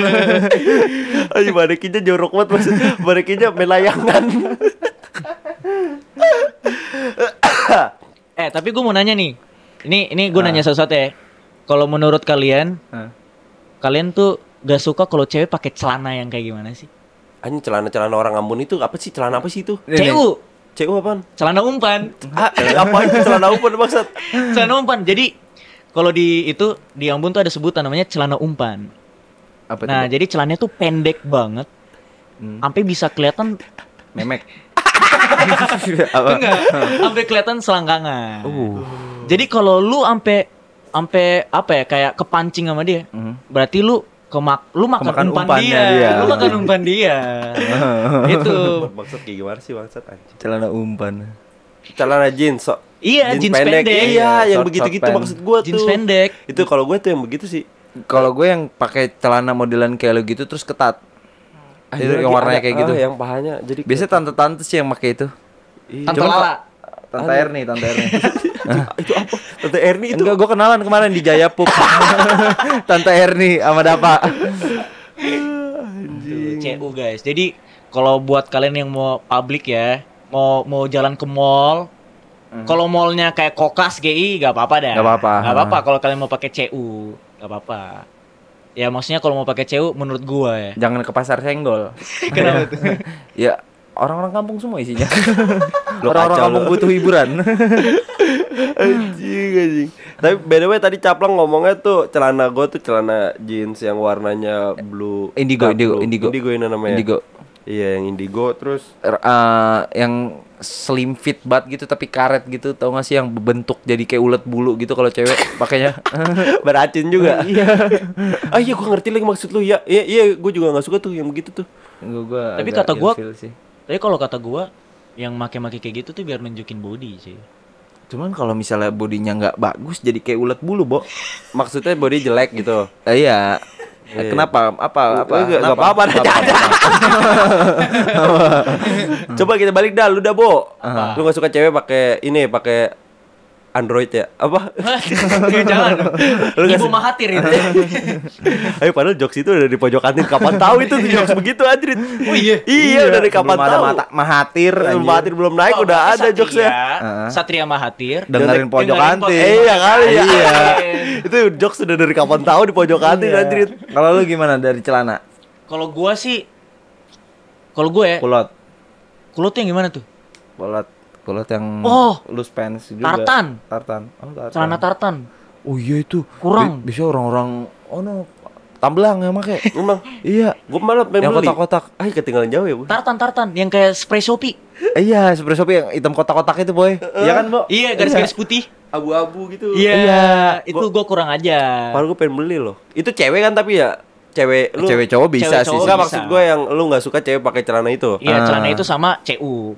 A: Ayo manekinnya jorok banget maksudnya manekinnya main layangan
C: Eh tapi gue mau nanya nih. Ini ini gue nanya sesuatu ya. Kalau menurut kalian,
B: Ah.
C: kalian tuh gak suka kalau cewek pakai celana yang kayak gimana sih?
A: Anjing celana-celana orang Ambon itu apa sih? Celana apa sih itu?
B: Ini, ini.
C: CU,
A: CU apaan?
C: uh, celana umpan.
A: Ah, apa itu celana umpan maksud?
C: celana umpan. Jadi kalau di itu di Ambon tuh ada sebutan namanya celana umpan.
B: Apa
C: Nah,
B: tuh?
C: jadi celananya tuh pendek banget.
B: Hmm.
C: Sampai bisa kelihatan
B: memek. apa? Uh.
C: enggak, sampai kelihatan selangkangan. Jadi kalau lu ampe ampe apa ya kayak kepancing sama dia,
B: Mhm.
C: berarti lu kemak lu makan,
B: Kemakan
C: umpan
B: umpannya
C: dia.
B: dia.
C: Lu makan umpan dia. Gitu. itu.
A: Maksud kayak gimana sih maksud anjing?
B: Celana umpan.
A: Celana jeans sok.
C: Iya, jeans pendek.
A: Iya,
B: Iya,
A: yang
B: short-
A: begitu-gitu
B: short
A: maksud gua tuh.
C: Jeans pendek.
A: Itu kalau gue tuh yang begitu sih.
B: Kalau gue yang pakai celana modelan kayak lo gitu terus ketat. itu Ah, yang warnanya kayak gitu.
A: ah, yang pahanya jadi
B: Biasanya tante-tante sih yang pakai itu.
C: Tante
B: Cuman
C: Lala.
B: kok- Tante Erni, Tante Erni.
A: itu apa? Tante Erni itu.
B: Enggak, gue kenalan kemarin di Jayapuk. Tante Erni sama Dapa.
C: CU guys. Jadi kalau buat kalian yang mau publik ya, mau mau jalan ke mall, kalau mallnya kayak Kokas GI gak apa-apa dah.
B: Mhm. Nggak apa-apa.
C: Nggak apa-apa kalau kalian mau pakai CU, gak apa-apa. Ya maksudnya kalau mau pakai CU menurut gua ya.
B: Jangan ke pasar senggol.
C: Kenapa tuh?
B: Ya orang-orang kampung semua isinya.
A: Lo
B: orang-orang
A: kacau
B: kampung
A: lo.
B: butuh hiburan.
A: anjing anjing. Tapi by the way tadi Caplang ngomongnya tuh celana gue tuh celana jeans yang warnanya blue.
B: Indigo,
A: dark
B: indigo,
A: blue.
B: indigo.
A: Indigo ini namanya.
B: Indigo.
A: Iya, yang indigo terus
B: Er, eh, yang slim fit banget gitu tapi karet gitu tau gak sih yang bentuk jadi kayak ulet bulu gitu kalau cewek pakainya
A: beracun juga. Iya. ah iya gue ngerti lagi maksud lu ya. Iya iya gue juga nggak suka tuh yang begitu tuh.
B: Gua- gua
C: Tapi
B: agak
C: kata gua-
B: ilfeel sih.
C: Tapi kalau kata gua yang make-make kayak gitu tuh biar nunjukin body sih.
B: Cuman kalau misalnya bodinya nggak bagus jadi kayak ulet bulu, Bo.
A: Maksudnya body jelek gitu.
B: Eh, iya. Eh,
A: Iya.
B: Kenapa? Apa? Apa?
A: Eh, nggak- nggak
B: Kenapa?
A: apa-apa, ada-ada. Coba kita balik dah, lu dah bo.
B: Ah.
A: Lu gak suka cewek pakai ini pakai Android ya? Apa?
C: Ya, Jangan.
A: Lu nggak
C: Ibu
A: sih?
C: Mahathir itu.
A: Ayo padahal jokes itu udah di pojok kantin kapan tahu itu tuh jokes begitu anjir.
C: Oh, iya.
A: Iya, udah dari kapan
B: Belum ada
A: tahu.
B: mata mahatir
A: Belum
B: anjir.
A: Mahathir belum naik udah ada
C: Satria,
A: jokesnya.
C: Satria Mahathir.
B: Dengerin pojok
C: Dengerin
B: kantin.
C: pojok-
A: Eh, iya kali ya.
C: Iya.
A: itu jokes udah dari kapan tahu di pojok kantin
B: Iya.
A: anjir.
B: Kalau lu gimana dari celana?
C: Kalau gua sih kalau gua
A: Eh.
C: ya,
B: Kulot.
C: kulot yang gimana tuh?
B: Kulot. Kulot yang
C: Oh.
B: loose pants juga.
C: Tartan.
B: Tartan. Oh, tartan.
C: Celana tartan.
B: Oh iya itu.
C: Kurang.
B: Bi- Biasanya orang-orang oh no tamblang yang make.
A: Emang
B: iya.
A: gua malah pengen
B: Yang
A: beli.
B: kotak-kotak.
A: Ah, ketinggalan jauh ya, Bu.
C: Tartan tartan yang kayak spray Shopee.
B: Eh, Iya, seperti Shopee yang hitam kotak-kotak itu, Boy. Iya kan, Bo?
C: Iya, garis-garis putih.
A: Abu-abu gitu.
C: Iya,
B: Iya.
C: itu gua kurang aja.
A: Padahal gue pengen beli loh. Itu cewek kan tapi ya cewek lu.
B: Eh, Cewek cowok bisa sih.
C: Cewek cowok
A: Enggak
C: bisa.
A: maksud gue yang lu nggak suka cewek pakai celana itu.
C: Iya,
B: Ah.
C: celana itu sama CU.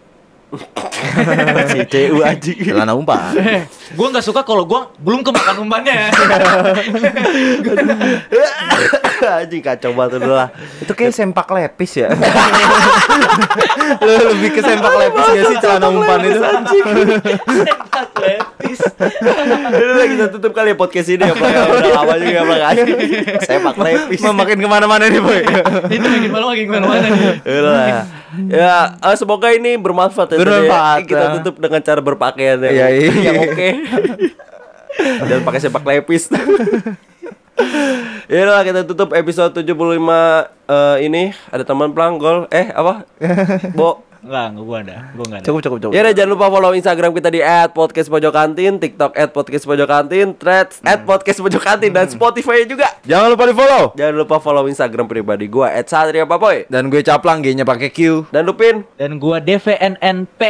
A: si CU anjing.
B: Celana umpan.
C: gua nggak suka kalau gua belum kemakan umpannya.
A: anjing kacau banget udah lah.
B: Itu kayak sempak lepis ya. Lu lebih ke sempak lepis gak sih celana umpan itu?
C: Atletis.
A: Udah lah, kita tutup kali ya podcast ini ya. Pak. Udah lama juga ya Pak. anjing. Saya pak lepis.
B: Mau makin kemana-mana nih boy.
C: itu makin malam makin kemana-mana. nih.
A: Udah lah. Ya, eh, semoga ini bermanfaat ya. tadi ya.
B: Bermanfaat,
A: Kita
B: ya.
A: tutup dengan cara berpakaian yang,
B: Iya, iya.
A: yang oke. Dan pakai sepak lepis. Ya udah lah, kita tutup episode 75 eh, ini ada teman pelanggol eh apa? Bo
C: Enggak, enggak gua ada. Gua enggak ada.
B: Cukup cukup cukup.
A: Ya udah jangan lupa follow Instagram kita di @podcastpojokantin, TikTok @podcastpojokantin, Threads @podcastpojokantin dan Spotify juga.
B: Jangan lupa di follow.
A: Jangan lupa follow Instagram pribadi gua @satriapapoy.
B: Dan gue caplang G-nya pakai Q.
A: Dan Lupin.
C: Dan gua DVNNP.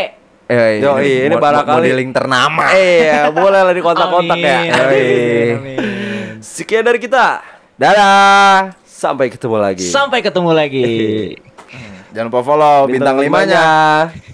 B: Eh,
A: Yoi, ini
B: mod-
A: barangkali-
B: modeling ternama.
A: Eh, ya, boleh lah di kontak-kontak ya. Yoi.
C: Amin, amin, amin.
A: Sekian dari kita. Ah,
B: Dadah.
A: Sampai ketemu lagi.
C: Sampai ketemu lagi.
B: Jangan lupa follow bintang,
A: Bintang
B: limanya.